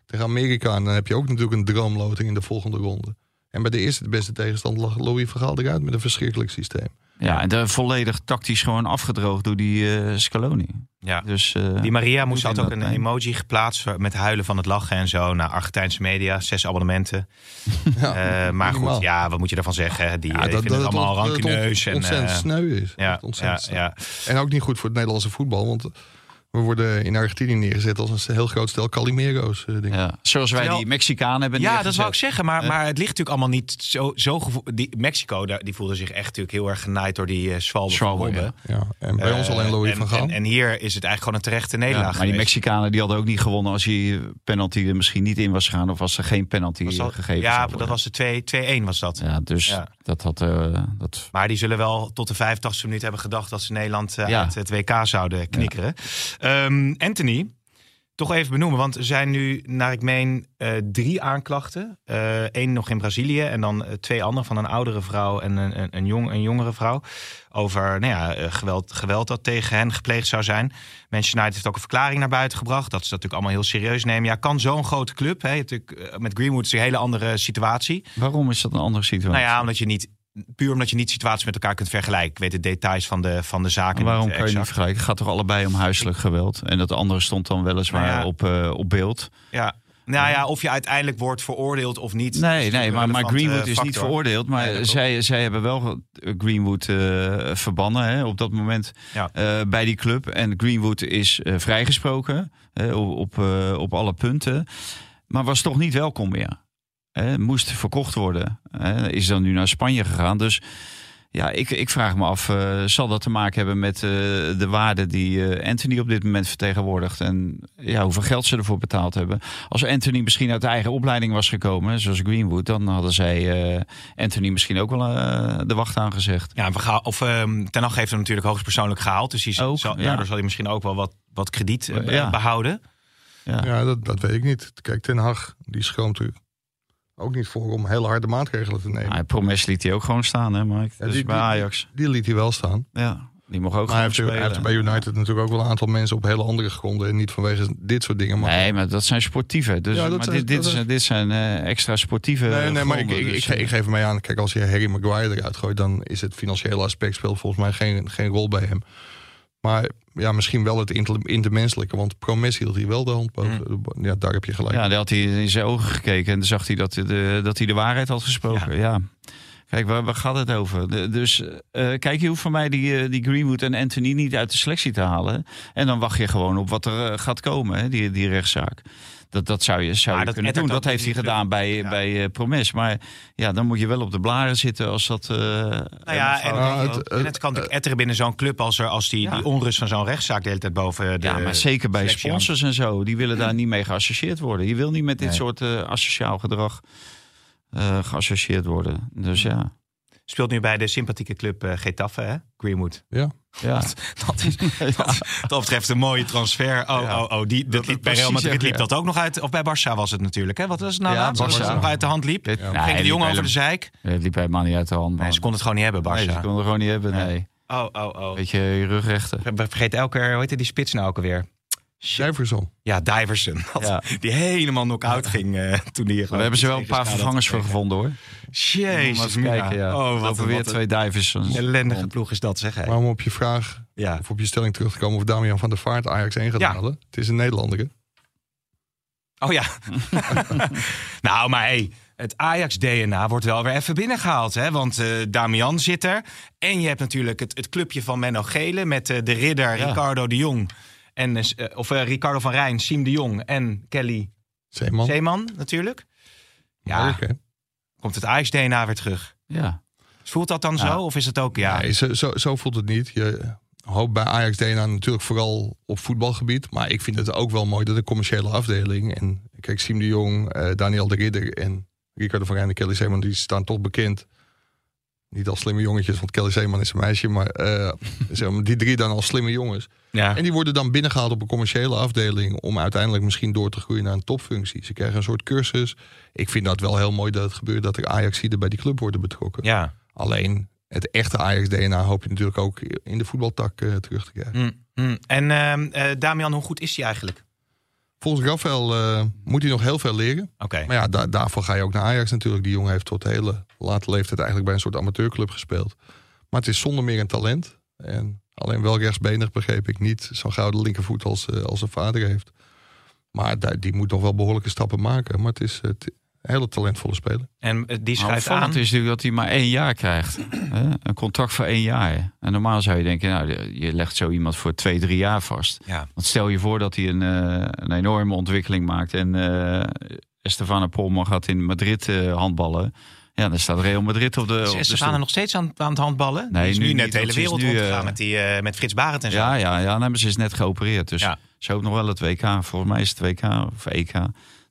Speaker 4: Tegen Amerika. En dan heb je ook natuurlijk een droomloting in de volgende ronde. En bij de eerste de beste tegenstand lag Louis Vergaal eruit met een verschrikkelijk systeem.
Speaker 5: Ja, en daar volledig tactisch gewoon afgedroogd door die eh Scaloni.
Speaker 3: Ja.
Speaker 5: Dus, eh,
Speaker 3: Die Maria moest
Speaker 5: Doet
Speaker 3: had
Speaker 5: hij
Speaker 3: ook
Speaker 5: dat
Speaker 3: een
Speaker 5: mee?
Speaker 3: emoji geplaatst met huilen van het lachen en zo. Naar Argentijnse media, zes abonnementen.
Speaker 4: Ja,
Speaker 3: Eh, maar goed,
Speaker 4: minimaal.
Speaker 3: ja, wat moet je ervan zeggen? hè? Die, eh,
Speaker 4: Ja,
Speaker 3: die vinden het allemaal
Speaker 4: ont- ont-
Speaker 3: rankeneus. en,
Speaker 4: ontzettend
Speaker 3: eh,
Speaker 4: sneu is. Dat
Speaker 3: ja,
Speaker 4: het
Speaker 3: ja,
Speaker 4: ontzettend sneu
Speaker 3: ja.
Speaker 4: En ook niet goed voor het Nederlandse voetbal. Want we worden in Argentinië neergezet als een heel groot stel Calimero's. eh, denk ik.
Speaker 5: ja. Zoals wij
Speaker 3: Terwijl-
Speaker 5: die Mexicanen hebben
Speaker 3: Ja, dat
Speaker 5: neergezet.
Speaker 3: zou ik zeggen. Maar, maar het ligt natuurlijk allemaal niet zo, zo gevo- die, Mexico daar, die voelde zich echt natuurlijk heel erg genaaid door die eh Swalbe van
Speaker 5: Schwalbe,
Speaker 3: Robben.
Speaker 5: ja.
Speaker 4: Ja, en bij ons
Speaker 3: Eh,
Speaker 4: alleen Louis
Speaker 3: en,
Speaker 4: van Gaal.
Speaker 3: En, en hier is het eigenlijk gewoon een terechte
Speaker 5: Ja,
Speaker 3: nederlaag
Speaker 5: maar die
Speaker 3: geweest.
Speaker 5: Mexicanen die hadden ook niet gewonnen als die penalty er misschien niet in was gegaan. Of als er geen penalty
Speaker 3: Was dat-
Speaker 5: gegeven
Speaker 3: Ja,
Speaker 5: zou
Speaker 3: dat
Speaker 5: worden.
Speaker 3: was de 2 2-1 was dat.
Speaker 5: Ja, dus
Speaker 3: Ja.
Speaker 5: dat had... eh, dat...
Speaker 3: Maar die zullen wel tot de 85e minuut hebben gedacht dat ze Nederland eh,
Speaker 5: Ja.
Speaker 3: uit het WK zouden knikkeren. Ehm, Anthony, toch even benoemen. Want er zijn nu, naar ik meen, eh, drie aanklachten. Eén nog in Brazilië en dan eh, twee andere van een oudere vrouw en een, een, een, jong, een jongere vrouw. Over nou ja, eh, geweld, geweld dat tegen hen gepleegd zou zijn. Manchester United heeft ook een verklaring naar buiten gebracht. Dat ze dat natuurlijk allemaal heel serieus nemen. Ja, kan zo'n grote club. Hè, natuurlijk, eh, met Greenwood is het een hele andere situatie.
Speaker 5: Waarom is dat een andere situatie?
Speaker 3: Nou ja, omdat je niet... Puur omdat je niet situaties met elkaar kunt vergelijken. Ik weet de details van de, van de zaken
Speaker 5: En waarom
Speaker 3: niet
Speaker 5: kan je niet
Speaker 3: exact.
Speaker 5: vergelijken? Het gaat toch allebei om huiselijk geweld? En dat andere stond dan weliswaar
Speaker 3: Nou ja.
Speaker 5: op, eh, op beeld.
Speaker 3: Ja. Nou ja, of je uiteindelijk wordt veroordeeld of niet. Dat is
Speaker 5: Nee, nee
Speaker 3: natuurlijk
Speaker 5: maar,
Speaker 3: een
Speaker 5: maar
Speaker 3: relevante,
Speaker 5: Greenwood is
Speaker 3: eh,
Speaker 5: niet
Speaker 3: factor.
Speaker 5: veroordeeld. Maar
Speaker 3: Nee, dat klopt.
Speaker 5: zij, zij hebben wel ge- Greenwood eh, verbannen hè, op dat moment
Speaker 3: Ja.
Speaker 5: eh, bij die club. En Greenwood is eh, vrijgesproken hè, op, op, eh, op alle punten. Maar was toch niet welkom meer. Hè, moest verkocht worden. Hè, is dan nu naar Spanje gegaan. Dus ja, ik, ik vraag me af, eh, zal dat te maken hebben met eh, de waarde die eh, Anthony op dit moment vertegenwoordigt? En ja, hoeveel geld ze ervoor betaald hebben? Als Anthony misschien uit de eigen opleiding was gekomen, zoals Greenwood, dan hadden zij eh, Anthony misschien ook wel eh, de wacht aangezegd.
Speaker 3: Ja, en Van Gaal- of ehm, Ten Hag heeft hem natuurlijk hoogstpersoonlijk gehaald. Dus hij
Speaker 5: Ook,
Speaker 3: zal,
Speaker 5: ja.
Speaker 3: daardoor zal hij misschien ook wel wat, wat krediet eh,
Speaker 5: Ja.
Speaker 3: behouden.
Speaker 5: Ja.
Speaker 4: Ja, dat, dat weet ik niet. Kijk, Ten Hag, die schroomt er ook niet voor om hele harde maatregelen te nemen.
Speaker 5: Maar Promes liet hij ook gewoon staan, hè, Mike?
Speaker 4: Ja,
Speaker 5: dus
Speaker 4: die-
Speaker 5: bij
Speaker 4: die-
Speaker 5: Ajax.
Speaker 4: Die liet hij wel staan.
Speaker 5: Ja, die mocht ook
Speaker 4: Maar hij
Speaker 5: gewoon
Speaker 4: heeft, er- hij heeft er bij
Speaker 5: spelen.
Speaker 4: United natuurlijk ook wel een aantal mensen op hele andere gronden. En niet vanwege dit soort dingen. Maar
Speaker 5: Nee, maar dat zijn sportieven. Dus,
Speaker 4: Ja, dat
Speaker 5: maar
Speaker 4: zijn-
Speaker 5: dit, dit,
Speaker 4: dat
Speaker 5: is,
Speaker 4: zijn-
Speaker 5: dit zijn eh, extra sportieve.
Speaker 4: Nee, nee, maar ik, ik,
Speaker 5: gronden,
Speaker 4: ik,
Speaker 5: dus,
Speaker 4: ge- ik geef hem mee aan. Kijk, als je Harry Maguire eruit gooit, dan is het financiële aspect speelt volgens mij geen, geen rol bij hem. Maar ja, misschien wel het inter- intermenselijke. Want Promes hield hij wel de hand boven. de bo- Ja, daar heb je gelijk.
Speaker 5: Mm. Ja, daar had hij in zijn ogen gekeken en dan zag hij dat, hij de, dat hij de waarheid had gesproken. Ja. Kijk, waar, waar gaat het over? De- dus eh, kijk, je hoeft van mij die, eh, die Greenwood en Anthony niet uit de selectie te halen. En dan wacht je gewoon op wat er eh, gaat komen, hè, die, die rechtszaak. Dat, dat zou je, zou
Speaker 3: Maar
Speaker 5: je
Speaker 3: dat
Speaker 5: kunnen
Speaker 3: ettert
Speaker 5: doen. Dat
Speaker 3: ook
Speaker 5: heeft hij
Speaker 3: niet
Speaker 5: gedaan bij,
Speaker 3: Ja.
Speaker 5: bij eh, Promes. Maar ja, dan moet je wel op de blaren zitten als dat... eh,
Speaker 3: Nou ja, en,
Speaker 5: fout-
Speaker 4: Ah,
Speaker 3: en
Speaker 4: het-
Speaker 3: het, kan natuurlijk etteren binnen zo'n club als, er, als die,
Speaker 5: Ja.
Speaker 3: die onrust van zo'n rechtszaak de hele tijd boven de
Speaker 5: ja, maar zeker bij
Speaker 3: selectie hangt.
Speaker 5: sponsors en zo. Die willen daar niet mee geassocieerd worden. Je wil niet met dit
Speaker 3: Nee.
Speaker 5: soort eh, asociaal gedrag eh, geassocieerd worden. Dus ja.
Speaker 3: Speelt nu bij de sympathieke club eh, Getafe, hè? Greenwood.
Speaker 5: ja.
Speaker 3: Dat is wat dat betreft een mooie transfer. Oh,
Speaker 5: Ja.
Speaker 3: oh, oh. Die, dat liep bij Real
Speaker 5: precies
Speaker 3: Madrid liep
Speaker 5: zeggen,
Speaker 3: dat ook nog uit. Of bij Barça was het natuurlijk. Hè? Wat was het nou
Speaker 5: Ja,
Speaker 3: laatst? Dat
Speaker 5: Barça.
Speaker 3: het nog uit de hand liep.
Speaker 5: Dit-
Speaker 4: Ja.
Speaker 5: Nee,
Speaker 3: Ging de
Speaker 5: liep
Speaker 3: jongen over de
Speaker 5: helemaal-
Speaker 3: zeik?
Speaker 5: Het liep helemaal niet uit de hand. man.
Speaker 3: Nee, ze konden het gewoon niet hebben, Barça.
Speaker 5: Nee, ze konden het gewoon niet hebben. Nee.
Speaker 3: Oh, oh, oh.
Speaker 5: Weet je, je rugrechten.
Speaker 3: We vergeet elke keer, hoe heette die spits nou ook alweer?
Speaker 4: Jefferson.
Speaker 3: Ja, Diverson. Dat-
Speaker 5: Ja.
Speaker 3: Die helemaal knock-out ging eh, toen die
Speaker 5: Daar hebben ze wel een paar vervangers voor gevonden hoor. Om
Speaker 3: Jezus,
Speaker 5: even te kijken, ja.
Speaker 3: Oh, wat,
Speaker 5: er
Speaker 3: een
Speaker 5: weer
Speaker 3: weer
Speaker 5: twee divers.
Speaker 3: een ellendige ploeg is dat, zeg hij.
Speaker 4: Maar om op je vraag
Speaker 3: Ja.
Speaker 4: of op je stelling terug te komen of Damian van der Vaart Ajax 1 gaat
Speaker 3: Ja.
Speaker 4: halen. Het is een Nederlander.
Speaker 3: Oh ja. nou, maar hey, het Ajax-DNA wordt wel weer even binnengehaald. Hè? Want eh, Damian zit er. En je hebt natuurlijk het, het clubje van Menno Gele... met eh, de ridder
Speaker 5: Ja.
Speaker 3: Ricardo de Jong. En, eh, of eh, Ricardo van Rijn, Siem de Jong en Kelly
Speaker 4: Zeeman.
Speaker 3: Zeeman natuurlijk. Ja,
Speaker 4: Leuk, hè?
Speaker 3: komt het Ajax-DNA weer terug.
Speaker 5: Ja.
Speaker 3: Voelt dat dan
Speaker 5: Ja.
Speaker 3: zo? Of is het ook, ja...
Speaker 4: Nee, eh, zo, zo, zo voelt het niet. Je hoopt bij Ajax DNA natuurlijk vooral op voetbalgebied. Maar ik vind het ook wel mooi dat de commerciële afdeling... en kijk, Siem de Jong, eh, Daniel de Ridder en Ricardo van Rijn en Kelly Zeeman... die staan toch bekend. Niet als slimme jongetjes, want Kelly Zeeman is een meisje. Maar eh, zeg maar, die drie dan als slimme jongens.
Speaker 3: ja.
Speaker 4: En die worden dan binnengehaald op een commerciële afdeling... om uiteindelijk misschien door te groeien naar een topfunctie. Ze krijgen een soort cursus. Ik vind dat wel heel mooi dat het gebeurt... dat er Ajaxiden bij die club worden betrokken.
Speaker 3: Ja.
Speaker 4: Alleen het echte Ajax-DNA hoop je natuurlijk ook in de voetbaltak eh, terug te krijgen.
Speaker 3: Mm, mm. En ehm, eh, Damian, hoe goed is hij eigenlijk?
Speaker 4: Volgens Rafael eh, moet hij nog heel veel leren.
Speaker 3: Oké.
Speaker 4: Maar ja, da- daarvoor ga je ook naar Ajax natuurlijk. Die jongen heeft tot hele late leeftijd eigenlijk bij een soort amateurclub gespeeld. Maar het is zonder meer een talent. En alleen wel rechtsbenig begreep ik niet zo'n gouden linkervoet als, eh, als zijn vader heeft. Maar da- die moet nog wel behoorlijke stappen maken. Maar het is eh, t- een hele talentvolle speler.
Speaker 3: En eh, die
Speaker 5: Maar
Speaker 3: schuift aan.
Speaker 5: opvallend is natuurlijk dat hij maar één jaar krijgt. hè? Een contract voor één jaar. En normaal zou je denken, nou, je legt zo iemand voor twee, drie jaar vast.
Speaker 3: Ja.
Speaker 5: Want stel je voor dat hij een, eh, een enorme ontwikkeling maakt. En eh Estefana Polman gaat in Madrid eh, handballen. Ja, dan staat Real Madrid op de,
Speaker 3: Is
Speaker 5: op de
Speaker 3: Estefana
Speaker 5: stoep.
Speaker 3: nog steeds aan, aan het handballen?
Speaker 5: dus Nee,
Speaker 3: die is nu,
Speaker 5: nu
Speaker 3: net
Speaker 5: niet,
Speaker 3: de hele
Speaker 5: want ze is
Speaker 3: wereld
Speaker 5: nu,
Speaker 3: rondgegaan
Speaker 5: eh,
Speaker 3: met, die, eh, met Frits Barend en zo.
Speaker 5: Ja, ja, ja. Nee, maar ze is net geopereerd. Dus
Speaker 3: Ja.
Speaker 5: ze hoopt nog wel het WK. Volgens mij is het WK of EK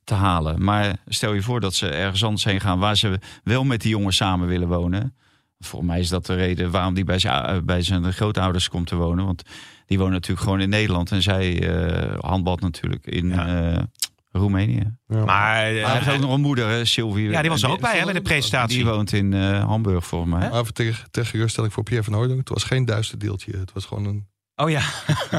Speaker 5: te halen. Maar stel je voor dat ze ergens anders heen gaan... waar ze wel met die jongens samen willen wonen. Volgens mij is dat de reden waarom die bij zijn, eh, bij zijn grootouders komt te wonen. Want die wonen natuurlijk gewoon in Nederland. En zij eh handbalt natuurlijk in
Speaker 3: Ja.
Speaker 5: eh, Roemenië.
Speaker 3: Maar eh,
Speaker 5: Hij heeft ook nog een moeder, hè, Sylvie.
Speaker 3: Ja, die was er
Speaker 5: En
Speaker 3: ook bij, hè, bij de presentatie.
Speaker 5: Die woont in eh, Hamburg, volgens mij.
Speaker 4: Maar even ter, ter geruststelling voor Pierre van Hooydonk. Het was geen duister deeltje. Het was gewoon een
Speaker 3: oh ja.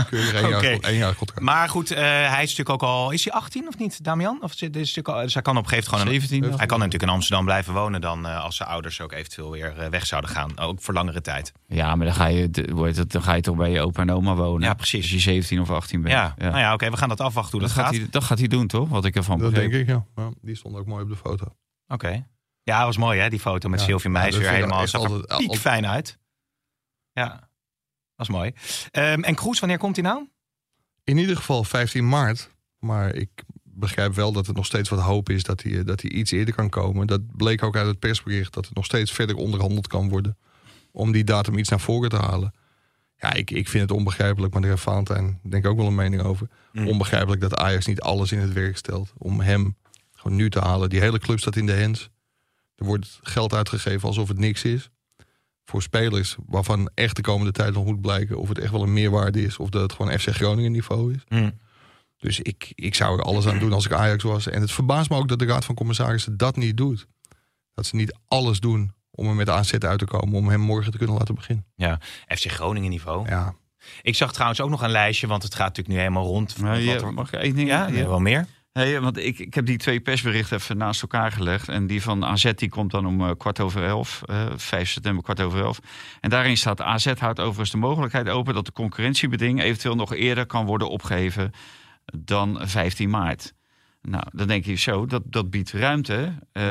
Speaker 4: keurig één jaar,
Speaker 3: Oké.
Speaker 4: één jaar contract.
Speaker 3: Maar goed, eh, hij is natuurlijk ook al. Is hij 18 of niet, Damian? Of zit- is natuurlijk al, dus hij kan op een gegeven moment gewoon.
Speaker 5: 17.
Speaker 3: Hij kan natuurlijk in Amsterdam blijven wonen dan eh, als zijn ouders ook eventueel weer eh, weg zouden gaan. Ook voor langere tijd.
Speaker 5: Ja, maar dan ga, je, de- hoe heet het, dan ga je toch bij je opa en oma wonen.
Speaker 3: Ja, precies.
Speaker 5: Als je 17 of 18 bent.
Speaker 3: Ja, nou ja, oké, we gaan dat afwachten hoe
Speaker 5: Dat,
Speaker 3: dat,
Speaker 5: gaat
Speaker 3: gaat.
Speaker 5: hij, dat gaat hij doen, toch? Wat ik ervan
Speaker 4: dat
Speaker 5: begreep.
Speaker 4: denk ik, ja. Ja, Die stond ook mooi op de foto.
Speaker 3: Oké. Ja, was mooi hè, die foto met
Speaker 4: Ja.
Speaker 3: Sylvie
Speaker 4: Ja,
Speaker 3: Meijs
Speaker 4: dat
Speaker 3: weer
Speaker 4: vind ik
Speaker 3: helemaal.
Speaker 4: echt
Speaker 3: Zag er
Speaker 4: altijd-
Speaker 3: piek
Speaker 4: altijd-
Speaker 3: fijn uit. Ja, was mooi. Ehm, en Kroes, wanneer komt hij nou?
Speaker 4: In ieder geval 15 maart. Maar ik begrijp wel dat het nog steeds wat hoop is dat hij, eh, dat hij iets eerder kan komen. Dat bleek ook uit het persbericht dat het nog steeds verder onderhandeld kan worden. Om die datum iets naar voren te halen. Ja, ik, ik vind het onbegrijpelijk, maar daar heeft Valentijn denk ik ook wel een mening over. Onbegrijpelijk dat Ajax niet alles in het werk stelt om hem gewoon nu te halen. Die hele club staat in de hands. Er wordt geld uitgegeven alsof het niks is. Voor spelers waarvan echt de komende tijd nog moet blijken of het echt wel een meerwaarde is. Of dat het gewoon FC Groningen niveau is.
Speaker 3: Mm.
Speaker 4: Dus ik, ik zou er alles aan doen als ik Ajax was. En het verbaast me ook dat de Raad van Commissarissen dat niet doet. Dat ze niet alles doen om er met AZ uit te komen. Om hem morgen te kunnen laten beginnen.
Speaker 3: Ja, FC Groningen niveau.
Speaker 4: Ja,
Speaker 3: Ik zag trouwens ook nog een lijstje, want het gaat natuurlijk nu helemaal rond.
Speaker 5: Maar
Speaker 3: Wat
Speaker 5: je-
Speaker 3: er-
Speaker 5: mag ik één ding?
Speaker 3: ja,
Speaker 5: Ja.
Speaker 3: wel meer.
Speaker 5: Hey, want ik, ik heb die twee persberichten even naast elkaar gelegd. En die van AZ die komt dan om eh, kwart over elf. eh 5 september kwart over elf. En daarin staat AZ houdt overigens de mogelijkheid open... dat de concurrentiebeding eventueel nog eerder kan worden opgeheven dan 15 maart. Nou, dan denk je zo, dat, dat biedt ruimte. Eh,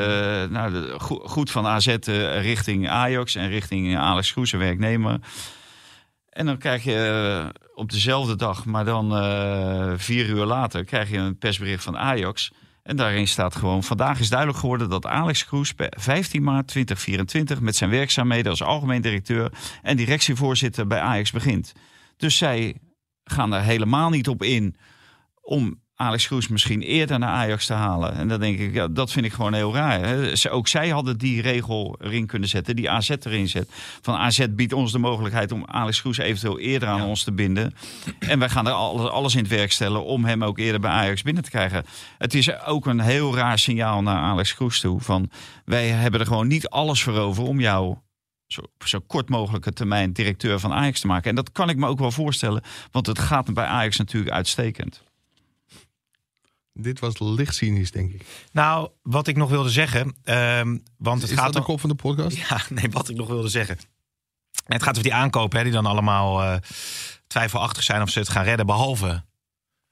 Speaker 5: nou, de- go- goed van AZ eh, richting Ajax en richting Alex Groes, een werknemer. En dan krijg je eh, op dezelfde dag, maar dan eh, vier uur later, krijg je een persbericht van Ajax. En daarin staat gewoon: Vandaag is duidelijk geworden dat Alex Kroes per 15 maart 2024 met zijn werkzaamheden als algemeen directeur en directievoorzitter bij Ajax begint. Dus zij gaan er helemaal niet op in om Alex Kroes misschien eerder naar Ajax te halen. En dan denk ik, ja, dat vind ik gewoon heel raar. Hè. Ze- Ook zij hadden die regel erin kunnen zetten, die AZ erin zet. Van AZ biedt ons de mogelijkheid om Alex Kroes eventueel eerder aan ons te binden. En wij gaan er alles, alles in het werk stellen om hem ook eerder bij Ajax binnen te krijgen. Het is ook een heel raar signaal naar Alex Kroes toe. Van wij hebben er gewoon niet alles voor over om jou zo, op zo kort mogelijke termijn directeur van Ajax te maken. En dat kan ik me ook wel voorstellen, want het gaat bij Ajax natuurlijk uitstekend.
Speaker 4: dit was licht cynisch, denk ik.
Speaker 3: Nou, wat ik nog wilde zeggen, ehm, want het
Speaker 4: is
Speaker 3: gaat
Speaker 4: dat de
Speaker 3: dan-
Speaker 4: kop van de podcast?
Speaker 3: Ja, nee, wat ik nog wilde zeggen. Het gaat over die aankopen, hè, die dan allemaal eh, twijfelachtig zijn of ze het gaan redden, behalve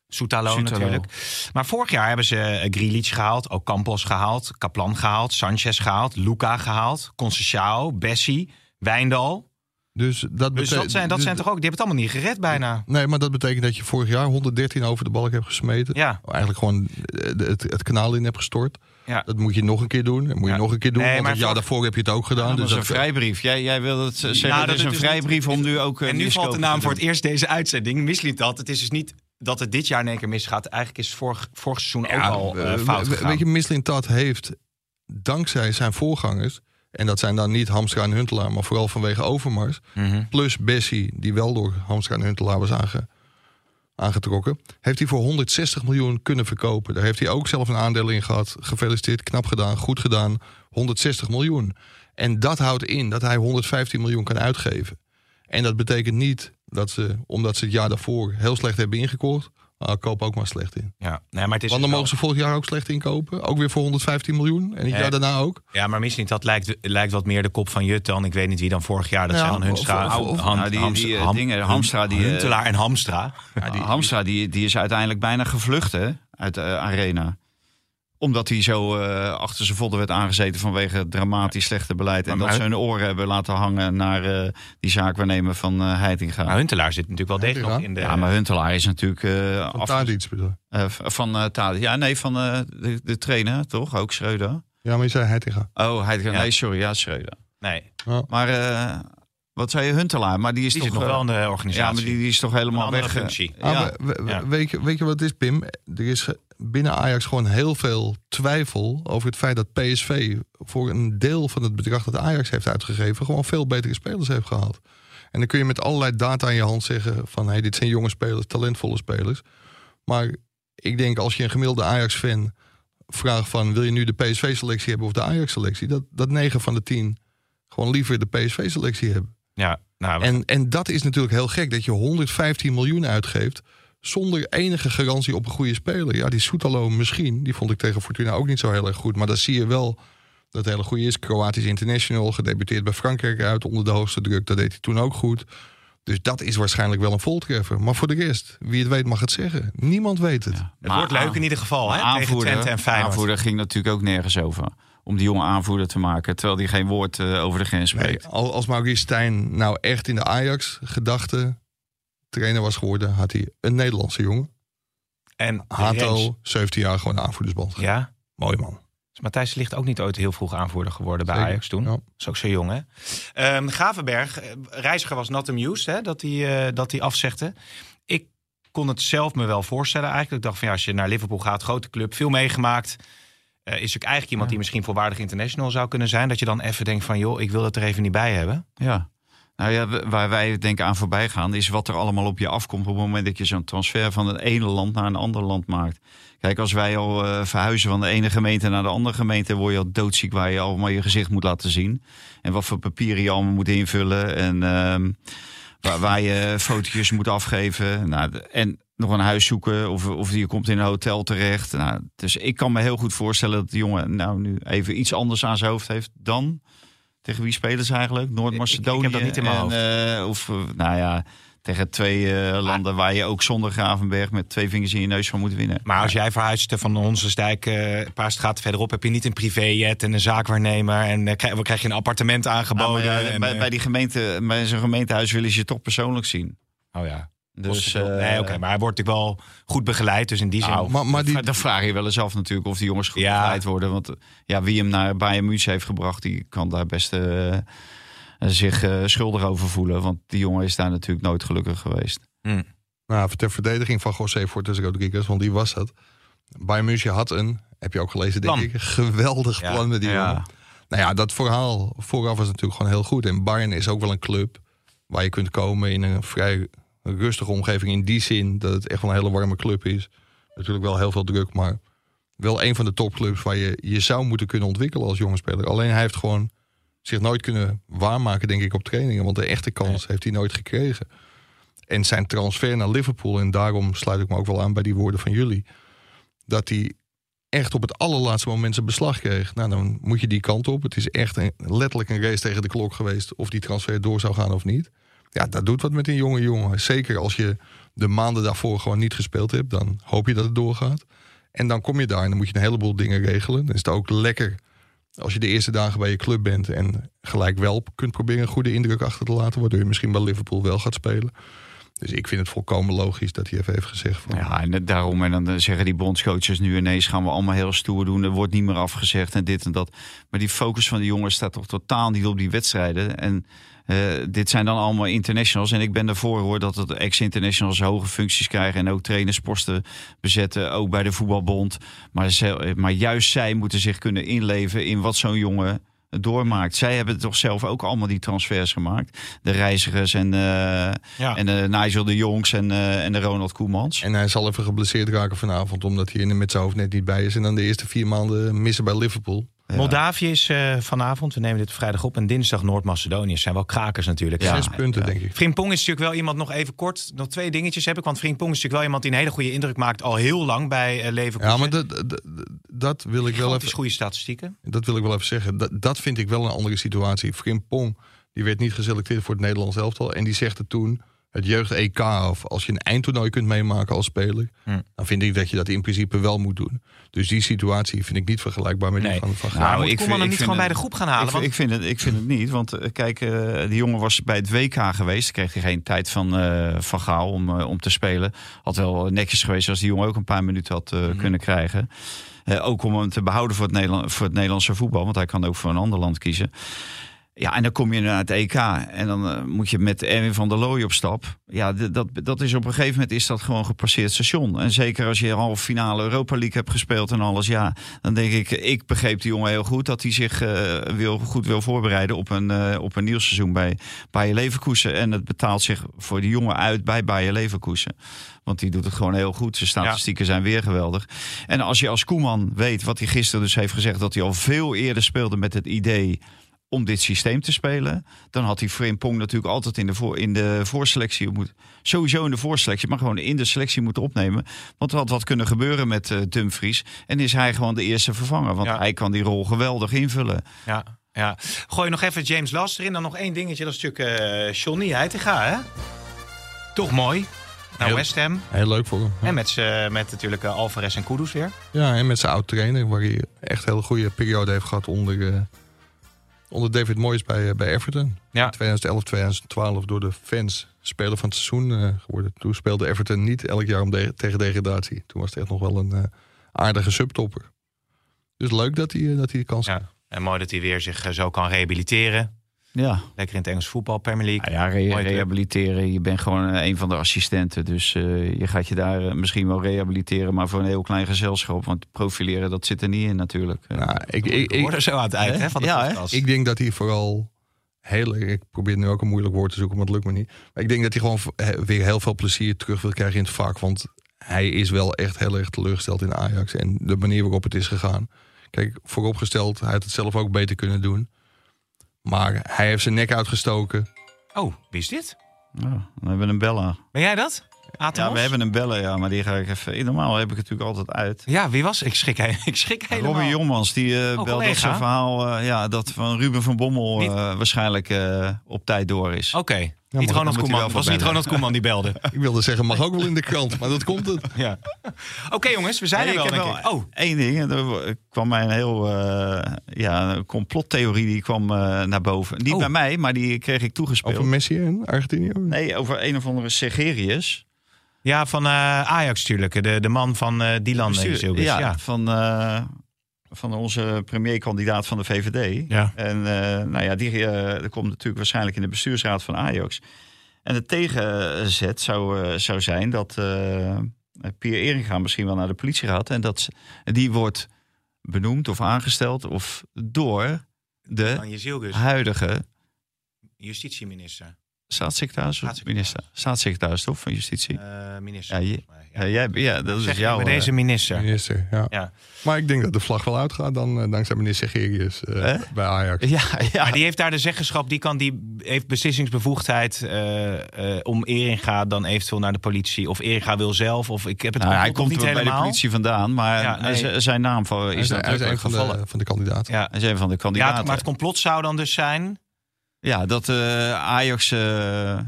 Speaker 3: Soetalo
Speaker 5: Soetalo.
Speaker 3: natuurlijk. Maar vorig jaar hebben ze eh, Grealish gehaald, ook Campos gehaald, Kaplan gehaald, Sanchez gehaald, Luca gehaald, Conceição, Bessie, Wijndal.
Speaker 4: Dus dat,
Speaker 3: Dus
Speaker 4: bete-
Speaker 3: dat zijn, dat
Speaker 4: dus-
Speaker 3: zijn toch ook, die hebben het allemaal niet gered bijna.
Speaker 4: Nee, maar dat betekent dat je vorig jaar 113 over de balk hebt gesmeten.
Speaker 3: Ja.
Speaker 4: Eigenlijk gewoon eh, het, het kanaal in hebt gestort.
Speaker 3: Ja.
Speaker 4: Dat moet je nog een keer doen. Dat moet je
Speaker 3: Ja.
Speaker 4: nog een keer doen.
Speaker 3: Nee,
Speaker 4: want
Speaker 3: maar
Speaker 4: het jaar
Speaker 3: vorig-
Speaker 4: daarvoor heb je het ook gedaan.
Speaker 5: dat
Speaker 4: dus
Speaker 5: is een vrijbrief. Jij, jij wil het zeggen,
Speaker 3: Nou,
Speaker 5: dat
Speaker 3: dat
Speaker 5: is
Speaker 3: het
Speaker 5: een
Speaker 3: dus
Speaker 5: vrijbrief om nu ook... eh,
Speaker 3: En nu
Speaker 5: die
Speaker 3: valt de
Speaker 5: scope
Speaker 3: naam
Speaker 5: te
Speaker 3: voor het
Speaker 5: doen.
Speaker 3: eerst deze uitzending. Misliep dat. Het is dus niet dat het dit jaar in één keer misgaat. Eigenlijk is het vorig, vorig seizoen ook al eh,
Speaker 4: eh,
Speaker 3: fout
Speaker 4: we- we-
Speaker 3: gegaan.
Speaker 4: Weet je, Mislin Tad heeft dankzij zijn voorgangers... en dat zijn dan niet Hamstra en Huntelaar... maar vooral vanwege Overmars...
Speaker 3: Mhm.
Speaker 4: plus Bessie, die wel door Hamstra en Huntelaar was aange, aangetrokken... heeft hij voor 160 miljoen kunnen verkopen. Daar heeft hij ook zelf een aandeel in gehad. Gefeliciteerd, knap gedaan, goed gedaan. 160 miljoen. En dat houdt in dat hij 115 miljoen kan uitgeven. En dat betekent niet dat ze, omdat ze het jaar daarvoor heel slecht hebben ingekocht... ah, koop ook maar slecht in.
Speaker 3: ja. nee, maar het is
Speaker 4: Want
Speaker 3: dus
Speaker 4: dan
Speaker 3: wel-
Speaker 4: mogen ze volgend jaar ook slecht inkopen. Ook weer voor 115 miljoen. En het
Speaker 3: Ja.
Speaker 4: jaar daarna ook.
Speaker 3: Ja, maar misschien dat lijkt, lijkt wat meer de kop van Jut dan. Ik weet niet wie dan vorig jaar. Dat
Speaker 4: Ja,
Speaker 3: zijn dan Hunstra,
Speaker 4: of- of- of-
Speaker 3: Han-
Speaker 5: nou, die-
Speaker 3: Hams-
Speaker 5: die, eh,
Speaker 3: Ham-
Speaker 5: dingen, Hamstra, die, eh,
Speaker 3: Huntelaar en Hamstra.
Speaker 5: Ja, die, Nou, Hamstra die, die is uiteindelijk bijna gevlucht hè, uit de eh, arena. Omdat hij zo eh, achter zijn vodden werd aangezeten vanwege dramatisch slechte beleid. En
Speaker 3: Maar-
Speaker 5: dat ze hun oren hebben laten hangen naar eh, die zaakwaarnemer van eh Heitinga.
Speaker 3: Maar Nou, Huntelaar zit natuurlijk wel degelijk
Speaker 4: Huntelaar?
Speaker 3: in de...
Speaker 5: ja, maar Huntelaar is natuurlijk eh,
Speaker 4: Van
Speaker 5: af-
Speaker 4: Tadic bedoel ik.
Speaker 5: eh, v- van eh Tadic. Ja, nee, van eh, de, de trainer, toch? Ook Schreuder.
Speaker 4: Ja, maar je zei Heitinga.
Speaker 5: Oh, hij,
Speaker 3: Ja.
Speaker 5: nee, sorry, ja, Schreuder.
Speaker 3: Nee.
Speaker 5: Maar eh, Wat zei je, Huntelaar? Maar die is
Speaker 3: Die
Speaker 5: toch eh,
Speaker 3: zit nog wel in de
Speaker 5: Ja, maar
Speaker 3: organisatie.
Speaker 5: die, die is toch helemaal
Speaker 3: Een andere
Speaker 5: weg. eh,
Speaker 3: functie.
Speaker 5: Ja.
Speaker 4: Ah, we- we-
Speaker 3: Ja.
Speaker 4: Weet, je, weet je wat het is, Pim? Er is ge- binnen Ajax gewoon heel veel twijfel over het feit dat PSV voor een deel van het bedrag dat Ajax heeft uitgegeven, gewoon veel betere spelers heeft gehaald. En dan kun je met allerlei data in je hand zeggen van hey, dit zijn jonge spelers, talentvolle spelers. Maar ik denk als je een gemiddelde Ajax-fan vraagt van wil je nu de PSV-selectie hebben of de Ajax-selectie, dat, dat 9 van de 10 gewoon liever de PSV-selectie hebben.
Speaker 3: Ja, nou,
Speaker 4: En, en dat is natuurlijk heel gek, dat je 115 miljoen uitgeeft zonder enige garantie op een goede speler. Ja, die Soetalo misschien, die vond ik tegen Fortuna ook niet zo heel erg goed. Maar dan zie je wel dat het hele goede is. Kroatisch international, gedebuteerd bij Frankrijk uit onder de hoogste druk. Dat deed hij toen ook goed. Dus dat is waarschijnlijk wel een voltreffer. Maar voor de rest, wie het weet mag het zeggen. Niemand weet het.
Speaker 3: het wordt leuk in ieder geval,
Speaker 5: Maar
Speaker 3: hè? Tegen Twente en Feyenoord.
Speaker 5: aanvoerder ging natuurlijk ook nergens over. Om die jonge aanvoerder te maken. Terwijl die geen woord eh, over de grens
Speaker 4: Nee,
Speaker 5: spreekt.
Speaker 4: al- als Maurice Stijn nou echt in de Ajax-gedachte trainer was geworden... had hij een Nederlandse jongen.
Speaker 3: En Rens.
Speaker 4: Hato, 17 jaar, gewoon aanvoerdersband. gegeven.
Speaker 3: Ja.
Speaker 4: Mooi man.
Speaker 3: Is Dus Matthijs de Ligt ook niet ooit heel vroeg aanvoerder geworden bij
Speaker 4: Zeker,
Speaker 3: Ajax toen?
Speaker 4: ja.
Speaker 3: Is ook zo jong, hè? Ehm, Gravenberg, eh, reiziger was not amused hè, dat hij eh, dat hij afzegde. Ik kon het zelf me wel voorstellen eigenlijk. Ik dacht van ja, als je naar Liverpool gaat, grote club, veel meegemaakt. eh, is ook eigenlijk iemand die misschien voorwaardig international zou kunnen zijn. Dat je dan even denkt van joh, ik wil dat er even niet bij hebben.
Speaker 5: Ja. Nou ja, w- waar wij denk ik aan voorbij gaan, is wat er allemaal op je afkomt op het moment dat je zo'n transfer van het ene land naar een ander land maakt. Kijk, als wij al eh, verhuizen van de ene gemeente naar de andere gemeente, word je al doodziek waar je allemaal je gezicht moet laten zien. En wat voor papieren je allemaal moet invullen. En ehm, waar, waar je fotootjes moet afgeven. Nou, de- en nog een huis zoeken. Of, of je komt in een hotel terecht. Nou, dus ik kan me heel goed voorstellen dat de jongen nou nu even iets anders aan zijn hoofd heeft dan. Tegen wie spelen ze eigenlijk? Noord-Macedonië.
Speaker 3: Ik- ik heb dat niet in mijn
Speaker 5: en,
Speaker 3: hoofd.
Speaker 5: eh, of eh, nou ja, tegen twee eh, landen waar je ook zonder Gravenberg met twee vingers in je neus van moet winnen.
Speaker 3: Maar als jij verhuist eh, van onze stijk eh, een paar straten verderop, heb je niet een privéjet en een zaakwaarnemer. En eh, krijg, krijg je een appartement
Speaker 5: Nou, maar
Speaker 3: aangeboden.
Speaker 5: ja,
Speaker 3: en,
Speaker 5: bij,
Speaker 3: eh,
Speaker 5: bij die gemeente, bij zo'n gemeentehuis willen ze je toch persoonlijk zien.
Speaker 3: Oh ja.
Speaker 5: Dus,
Speaker 3: nee,
Speaker 5: eh,
Speaker 3: oké, maar hij wordt natuurlijk wel goed begeleid. Dus in die zin.
Speaker 5: Nou,
Speaker 4: Ah, Maar, maar die,
Speaker 5: Maar dan vraag je wel eens af natuurlijk of die jongens goed
Speaker 3: Ja.
Speaker 5: begeleid worden. Want eh, ja, wie hem naar Bayern München heeft gebracht, die kan daar best eh, eh, zich eh, schuldig over voelen. Want die jongen is daar natuurlijk nooit gelukkig geweest.
Speaker 4: nou, ter verdediging van José Fortes Rodriguez, want die was dat. Bayern München had een, heb je ook gelezen denk
Speaker 3: Plan.
Speaker 4: ik, geweldig
Speaker 3: Ja,
Speaker 4: plan met die
Speaker 5: ja.
Speaker 4: jongen. Nou ja, dat verhaal vooraf was natuurlijk gewoon heel goed. En Bayern is ook wel een club waar je kunt komen in een vrij rustige omgeving. In die zin dat het echt wel een hele warme club is. Natuurlijk wel heel veel druk, maar wel een van de topclubs waar je je zou moeten kunnen ontwikkelen als jonge speler. Alleen hij heeft gewoon zich nooit kunnen waarmaken, denk ik, op trainingen. Want de echte kans heeft hij nooit gekregen. En zijn transfer naar Liverpool, en daarom sluit ik me ook wel aan bij die woorden van jullie. Dat hij echt op het allerlaatste moment zijn beslag kreeg. Nou, dan moet je die kant op. Het is echt een, letterlijk een race tegen de klok geweest... of die transfer door zou gaan of niet. Ja, dat doet wat met een jonge jongen. Zeker als je de maanden daarvoor gewoon niet gespeeld hebt... dan hoop je dat het doorgaat. En dan kom je daar en dan moet je een heleboel dingen regelen. Dan is het ook lekker als je de eerste dagen bij je club bent... en gelijk wel kunt proberen een goede indruk achter te laten... waardoor je misschien bij Liverpool wel gaat spelen. Dus ik vind het volkomen logisch dat hij even heeft gezegd... Van,
Speaker 5: Ja, en net daarom. En dan eh, zeggen die bondscoaches nu ineens gaan we allemaal heel stoer doen. Er wordt niet meer afgezegd en dit en dat. Maar die focus van die jongens staat toch totaal niet op die wedstrijden. En eh, dit zijn dan allemaal internationals. En ik ben ervoor hoor dat het ex-internationals hoge functies krijgen. En ook trainersposten bezetten. Ook bij de voetbalbond. Maar, ze- eh, maar juist zij moeten zich kunnen inleven in wat zo'n jongen doormaakt. Zij hebben toch zelf ook allemaal die transfers gemaakt. De reizigers en, eh,
Speaker 3: Ja.
Speaker 5: en eh, Nigel de Jongs en, eh, en de Ronald Koemans.
Speaker 4: En hij zal even geblesseerd raken vanavond, omdat hij er met zijn hoofd net niet bij is. En dan de eerste vier maanden missen bij Liverpool.
Speaker 3: Moldavië is eh, vanavond, we nemen dit vrijdag op. En dinsdag Noord-Macedonië. Zijn wel krakers natuurlijk.
Speaker 5: Ja.
Speaker 4: Zes punten, denk ik.
Speaker 3: Frimpong is natuurlijk wel iemand, nog even kort, nog twee dingetjes heb ik. Want Frimpong is natuurlijk wel iemand die een hele goede indruk maakt. Al heel lang bij eh Leverkusen.
Speaker 4: Ja, maar dat, dat, dat, wil ik wel
Speaker 3: Gigantisch
Speaker 4: even,
Speaker 3: goede statistieken.
Speaker 4: dat wil ik wel even zeggen. Dat, dat vind ik wel een andere situatie. Frimpong, die werd niet geselecteerd voor het Nederlands elftal. En die zegt het toen, het jeugd-EK of als je een eindtoernooi kunt meemaken als speler...
Speaker 3: Hm.
Speaker 4: dan vind ik dat je dat in principe wel moet doen. Dus die situatie vind ik niet vergelijkbaar met
Speaker 3: Nee.
Speaker 4: die van Van Gaal.
Speaker 3: Maar
Speaker 5: Nou,
Speaker 3: moet
Speaker 5: ik
Speaker 3: ik
Speaker 5: vind-
Speaker 3: hem
Speaker 5: ik
Speaker 3: niet
Speaker 5: vind
Speaker 3: gewoon bij de
Speaker 5: het-
Speaker 3: groep gaan halen?
Speaker 5: Ik,
Speaker 3: want
Speaker 5: ik, vind het, ik vind het niet, want eh, kijk, eh, die jongen was bij het WK geweest. Kreeg hij geen tijd van, eh, van Gaal om, eh, om te spelen. Had wel eh, netjes geweest als die jongen ook een paar minuten had eh,
Speaker 3: Mhm.
Speaker 5: kunnen krijgen. Eh, ook om hem te behouden voor het, Nederland, voor het Nederlandse voetbal. Want hij kan ook voor een ander land kiezen. Ja, en dan kom je naar het EK en dan eh, moet je met Erwin van der Looy op stap. Ja, d- dat, dat is op een gegeven moment is dat gewoon gepasseerd station. En zeker als je halve finale Europa League hebt gespeeld en alles, ja, dan denk ik, ik begreep die jongen heel goed dat hij zich eh, wil, goed wil voorbereiden op een, eh, op een nieuw seizoen bij Bayer Leverkusen. En het betaalt zich voor die jongen uit bij Bayer Leverkusen. Want die doet het gewoon heel goed. Zijn statistieken zijn weer geweldig. En als je als Koeman weet wat hij gisteren dus heeft gezegd, dat hij al veel eerder speelde met het idee om dit systeem te spelen. Dan had hij Frimpong natuurlijk altijd in de, voor, in de voorselectie moeten. Sowieso in de voorselectie, maar gewoon in de selectie moeten opnemen. Want er had wat kunnen gebeuren met eh, Dumfries. En is hij gewoon de eerste vervanger. Want
Speaker 3: Ja.
Speaker 5: hij kan die rol geweldig invullen.
Speaker 3: Ja, ja. Gooi nog even James Last erin. Dan nog één dingetje. Dat is natuurlijk eh Johnny Heitinga, hè? Toch mooi. Naar
Speaker 4: Heel-
Speaker 3: West Ham.
Speaker 4: Heel leuk voor hem.
Speaker 3: En met, z'n- met natuurlijk eh, Alvarez en Kudus weer.
Speaker 4: Ja, en met zijn oud-trainer, waar hij echt een hele goede periode heeft gehad onder, eh, onder David Moyes bij, eh, bij Everton.
Speaker 3: Ja.
Speaker 4: 2011, 2012 door de fans speler van het seizoen eh, geworden. Toen speelde Everton niet elk jaar om de- tegen degradatie. Toen was het echt nog wel een eh, aardige subtopper. Dus leuk dat hij, eh, dat hij de kans
Speaker 3: Ja.
Speaker 4: heeft.
Speaker 3: En mooi dat hij weer zich eh, zo kan rehabiliteren.
Speaker 5: Ja,
Speaker 3: Lekker in het Engels voetbal, Premier League.
Speaker 5: Nou ja re-
Speaker 3: Mooi,
Speaker 5: rehabiliteren. Je bent gewoon eh, een van de assistenten. Dus eh, je gaat je daar eh, misschien wel rehabiliteren. Maar voor een heel klein gezelschap. Want profileren, dat zit er niet in natuurlijk. Eh,
Speaker 4: Nou, ik, ik,
Speaker 3: Ik hoor
Speaker 4: ik,
Speaker 3: er zo aan het eind hè, van de
Speaker 5: Ja, hè?
Speaker 3: podcast.
Speaker 4: ik denk dat hij vooral heel erg... Ik probeer nu ook een moeilijk woord te zoeken, maar het lukt me niet. Maar ik denk dat hij gewoon v- he- weer heel veel plezier terug wil krijgen in het vak. Want hij is wel echt heel erg teleurgesteld in Ajax. En de manier waarop het is gegaan. Kijk, vooropgesteld, hij had het zelf ook beter kunnen doen. Maar hij heeft zijn nek uitgestoken.
Speaker 3: Oh, wie is dit?
Speaker 5: ja, oh, we hebben een bella.
Speaker 3: Ben jij dat? Atemos?
Speaker 5: Ja, we hebben een bellen, ja, maar die ga ik even. eh, Normaal heb ik het natuurlijk altijd uit.
Speaker 3: Ja, wie was? Ik schrik, he- ik schrik helemaal. Oh,
Speaker 5: Robin Jommans, die eh, belde
Speaker 3: collega.
Speaker 5: dat zijn verhaal eh, ja, dat van Ruben van Bommel eh, waarschijnlijk eh, op tijd door is.
Speaker 3: Oké, niet
Speaker 5: dan moet
Speaker 3: Ronald
Speaker 5: hij
Speaker 3: Koeman.
Speaker 5: wel
Speaker 3: Het was niet
Speaker 5: bellen.
Speaker 3: Ronald Koeman die belde.
Speaker 4: Ik wilde zeggen, mag ook wel in de krant, maar dat komt het.
Speaker 3: ja. Oké jongens, we zijn
Speaker 5: Nee,
Speaker 3: er wel,
Speaker 5: ik heb
Speaker 3: denk
Speaker 5: wel
Speaker 3: ik. Oh,
Speaker 5: één ding. en Er kwam mij een heel eh, ja, een complottheorie die kwam eh, naar boven. Niet
Speaker 3: Oh.
Speaker 5: bij mij, maar die kreeg ik toegespeeld.
Speaker 4: Over Messi en Argentinië.
Speaker 5: Nee, over een of andere Segerius.
Speaker 3: ja, van eh, Ajax natuurlijk. De, de man van eh Dylan. eh,
Speaker 5: Bestuur-
Speaker 3: Zilbis.
Speaker 5: ja,
Speaker 3: ja.
Speaker 5: Van, eh, van onze premierkandidaat van de VVD.
Speaker 3: Ja.
Speaker 5: En eh, nou ja, die eh, dat komt natuurlijk waarschijnlijk in de bestuursraad van Ajax. En het tegenzet zou, eh, zou zijn dat eh Pierre Eringa misschien wel naar de politie gaat. En dat ze- die wordt benoemd of aangesteld of door de
Speaker 3: Van Jezilgus,
Speaker 5: huidige
Speaker 3: justitieminister.
Speaker 5: staatssecretaris of
Speaker 3: Staatssecretaris.
Speaker 5: minister. Staatssecretaris toch van Justitie?
Speaker 3: Eh, minister.
Speaker 5: Ja, je-
Speaker 3: volgens mij, ja.
Speaker 5: Ja, jij, ja dat
Speaker 3: Zeg
Speaker 5: is
Speaker 3: je
Speaker 5: jouw...
Speaker 3: maar
Speaker 5: eh,
Speaker 3: deze minister.
Speaker 4: Minister, ja.
Speaker 3: Ja.
Speaker 4: Maar ik denk dat de vlag wel uitgaat dan eh, dankzij meneer Segerius eh,
Speaker 5: Eh?
Speaker 4: bij Ajax.
Speaker 5: ja, ja.
Speaker 3: Maar die heeft daar de zeggenschap, die, kan, die heeft beslissingsbevoegdheid eh, eh, om Eringa dan eventueel naar de politie. Of Eringa wil zelf, of ik heb het
Speaker 5: Nou, hij
Speaker 3: antwoord nog
Speaker 5: komt
Speaker 3: niet
Speaker 5: er bij de
Speaker 3: helemaal.
Speaker 5: politie vandaan, maar
Speaker 3: Ja, nee.
Speaker 5: z- zijn naam van-
Speaker 4: Hij
Speaker 5: is
Speaker 4: is, hij is een
Speaker 5: natuurlijk
Speaker 4: van de,
Speaker 5: gevallen.
Speaker 4: van de kandidaten.
Speaker 3: Ja.
Speaker 5: Hij is een van de
Speaker 3: Ja,
Speaker 5: kandidaten.
Speaker 3: het-
Speaker 5: Ja,
Speaker 3: maar het complot zou dan dus zijn.
Speaker 5: dat eh, Ajax eh,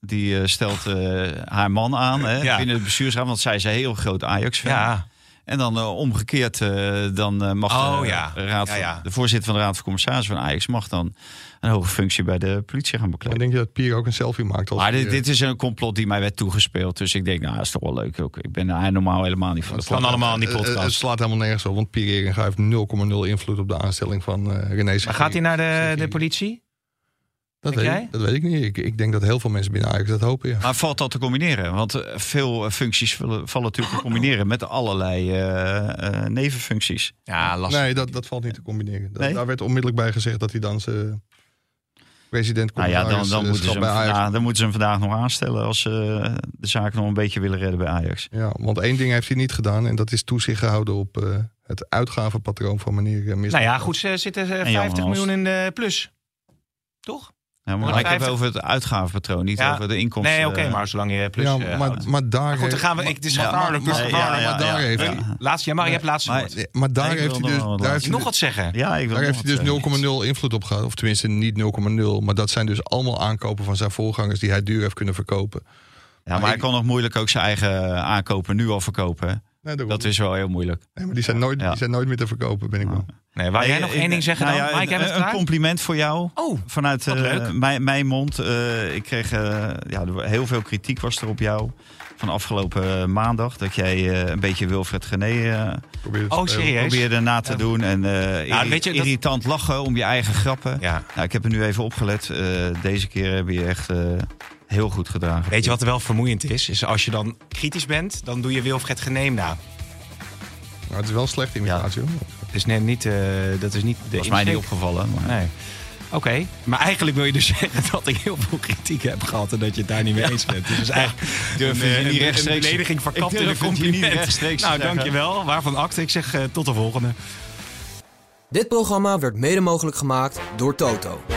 Speaker 5: die eh, stelt eh, haar man aan hè,
Speaker 3: Ja.
Speaker 5: binnen het bestuursraad, want zij is een heel groot Ajax-fan.
Speaker 3: Ja,
Speaker 5: En dan eh, omgekeerd, eh, dan eh, mag de,
Speaker 3: Oh, ja.
Speaker 5: raad,
Speaker 3: Ja, ja.
Speaker 5: de voorzitter van de raad van commissarissen van Ajax mag dan een hoge functie bij de politie gaan
Speaker 4: Maar
Speaker 5: bekleden.
Speaker 4: denk je dat Pier ook een selfie maakt? Als
Speaker 5: Maar
Speaker 4: hij,
Speaker 5: dit, dit is een complot die mij werd toegespeeld. Dus ik denk, nou, dat is toch wel leuk ook. Ik ben daar normaal helemaal niet van. de
Speaker 3: kan allemaal in die
Speaker 4: eh, eh,
Speaker 3: podcast.
Speaker 4: het slaat helemaal nergens op, want Pier Eringa heeft 0,0 invloed op de aanstelling van eh René
Speaker 3: maar
Speaker 4: Segerius.
Speaker 3: gaat hij naar de,
Speaker 4: Segerius.
Speaker 3: de politie?
Speaker 4: Dat
Speaker 3: Denk
Speaker 4: weet,
Speaker 3: jij? Ah.
Speaker 4: ik, dat weet ik niet. Ik, ik denk dat heel veel mensen binnen Ajax dat hopen, ja.
Speaker 5: Maar valt dat te combineren? Want eh, veel eh, functies vallen, vallen natuurlijk te combineren met allerlei eh, eh, nevenfuncties.
Speaker 3: Ja, lastig.
Speaker 4: Nee, dat, dat valt niet te combineren. Dat-
Speaker 5: Nee?
Speaker 4: Daar werd onmiddellijk bij gezegd dat hij dan zijn president
Speaker 5: Nou ja, dan,
Speaker 4: commissaris,
Speaker 5: dan,
Speaker 4: eh,
Speaker 5: moeten ze
Speaker 4: schap
Speaker 5: hem
Speaker 4: bij Ajax.
Speaker 5: vandaag, dan moeten ze hem vandaag nog aanstellen als ze eh, de zaak nog een beetje willen redden bij Ajax.
Speaker 4: Ja, want één ding heeft hij niet gedaan en dat is toezicht gehouden op eh, het uitgavenpatroon van meneer eh, Mis.
Speaker 3: Nou ja, goed, ze zitten eh,
Speaker 5: En Jan
Speaker 3: 50
Speaker 5: Hals.
Speaker 3: miljoen in de plus. Toch?
Speaker 5: Ja, maar
Speaker 3: Maar
Speaker 5: ik heb
Speaker 3: vijftig-
Speaker 5: over het uitgavenpatroon, niet
Speaker 3: Ja.
Speaker 5: over de inkomsten.
Speaker 3: Nee, oké, maar zolang je plus.
Speaker 4: ja,
Speaker 3: eh, houdt.
Speaker 4: maar, maar daar...
Speaker 3: Goed, dan gaan we.
Speaker 4: heeft-
Speaker 3: Ik, het is
Speaker 5: Ja, maar-
Speaker 3: gevaarlijk. het is
Speaker 5: maar-
Speaker 3: gevaarlijk.
Speaker 4: maar daar heeft hij...
Speaker 3: Laatste, ja, maar je hebt laatste
Speaker 5: Maar-
Speaker 3: woord.
Speaker 4: Nee, maar daar
Speaker 5: Ik
Speaker 4: heeft
Speaker 5: wil
Speaker 4: hij dus,
Speaker 5: nog wel
Speaker 4: daar
Speaker 5: wat
Speaker 4: heeft hij
Speaker 3: Nog
Speaker 4: dus,
Speaker 3: wat zeggen.
Speaker 5: Ja, ik wil
Speaker 4: daar
Speaker 5: nog
Speaker 4: heeft hij
Speaker 5: wat, eh,
Speaker 4: dus 0,0 invloed op gehad. Of tenminste niet 0,0. Maar dat zijn dus allemaal aankopen van zijn voorgangers die hij duur heeft kunnen verkopen.
Speaker 5: Ja, maar hij kan nog moeilijk ook zijn eigen aankopen nu al verkopen. hè?
Speaker 4: Nee, daarom.
Speaker 5: Dat is wel heel moeilijk.
Speaker 4: Nee, maar die zijn, nooit,
Speaker 5: Ja.
Speaker 4: die zijn nooit meer te verkopen, ben ik bang.
Speaker 3: Nee, wou jij nog één ding zeggen
Speaker 5: Nou
Speaker 3: dan?
Speaker 5: ja,
Speaker 3: Mike, jij
Speaker 5: een,
Speaker 3: bent
Speaker 5: een
Speaker 3: klaar?
Speaker 5: compliment voor jou.
Speaker 3: Oh,
Speaker 5: Vanuit
Speaker 3: wat
Speaker 5: eh,
Speaker 3: leuk.
Speaker 5: mijn, mijn mond. eh, ik kreeg eh, ja, er wa- heel veel kritiek was er op jou. Van afgelopen eh, maandag. Dat jij eh, een beetje Wilfred Gené eh,
Speaker 4: Probeer het te
Speaker 3: Oh,
Speaker 4: spelen.
Speaker 3: serieus?
Speaker 5: probeerde na te doen. En eh,
Speaker 3: Nou,
Speaker 5: irri-
Speaker 3: weet je, dat-
Speaker 5: irritant lachen om je eigen grappen.
Speaker 3: Ja.
Speaker 5: Nou, ik heb er nu even opgelet. Eh, deze keer heb je echt eh, heel goed gedragen.
Speaker 3: Weet je wat er wel vermoeiend is? Is als je dan kritisch bent, dan doe je Wilfred Geneem na.
Speaker 4: Maar het is wel een slechte imitatie. hoor.
Speaker 3: Dat is net niet, eh, dat is niet de
Speaker 5: was mij niet
Speaker 3: insteek.
Speaker 5: opgevallen. Maar...
Speaker 3: Nee. Oké, maar eigenlijk wil je dus zeggen dat ik heel veel kritiek heb gehad en dat je het daar niet mee eens bent. Dus dat is eigenlijk
Speaker 5: durf
Speaker 3: een, eh,
Speaker 5: het je niet
Speaker 3: een- een
Speaker 5: rechtstreeks-
Speaker 3: belediging verkapt
Speaker 5: Ik
Speaker 3: in
Speaker 5: durf
Speaker 3: een
Speaker 5: het je niet
Speaker 3: compliment.
Speaker 5: rechtstreeks te
Speaker 3: nou,
Speaker 5: zeggen.
Speaker 3: dankjewel. Waarvan acte? Ik zeg eh, tot de volgende.
Speaker 1: Dit programma werd mede mogelijk gemaakt door Toto.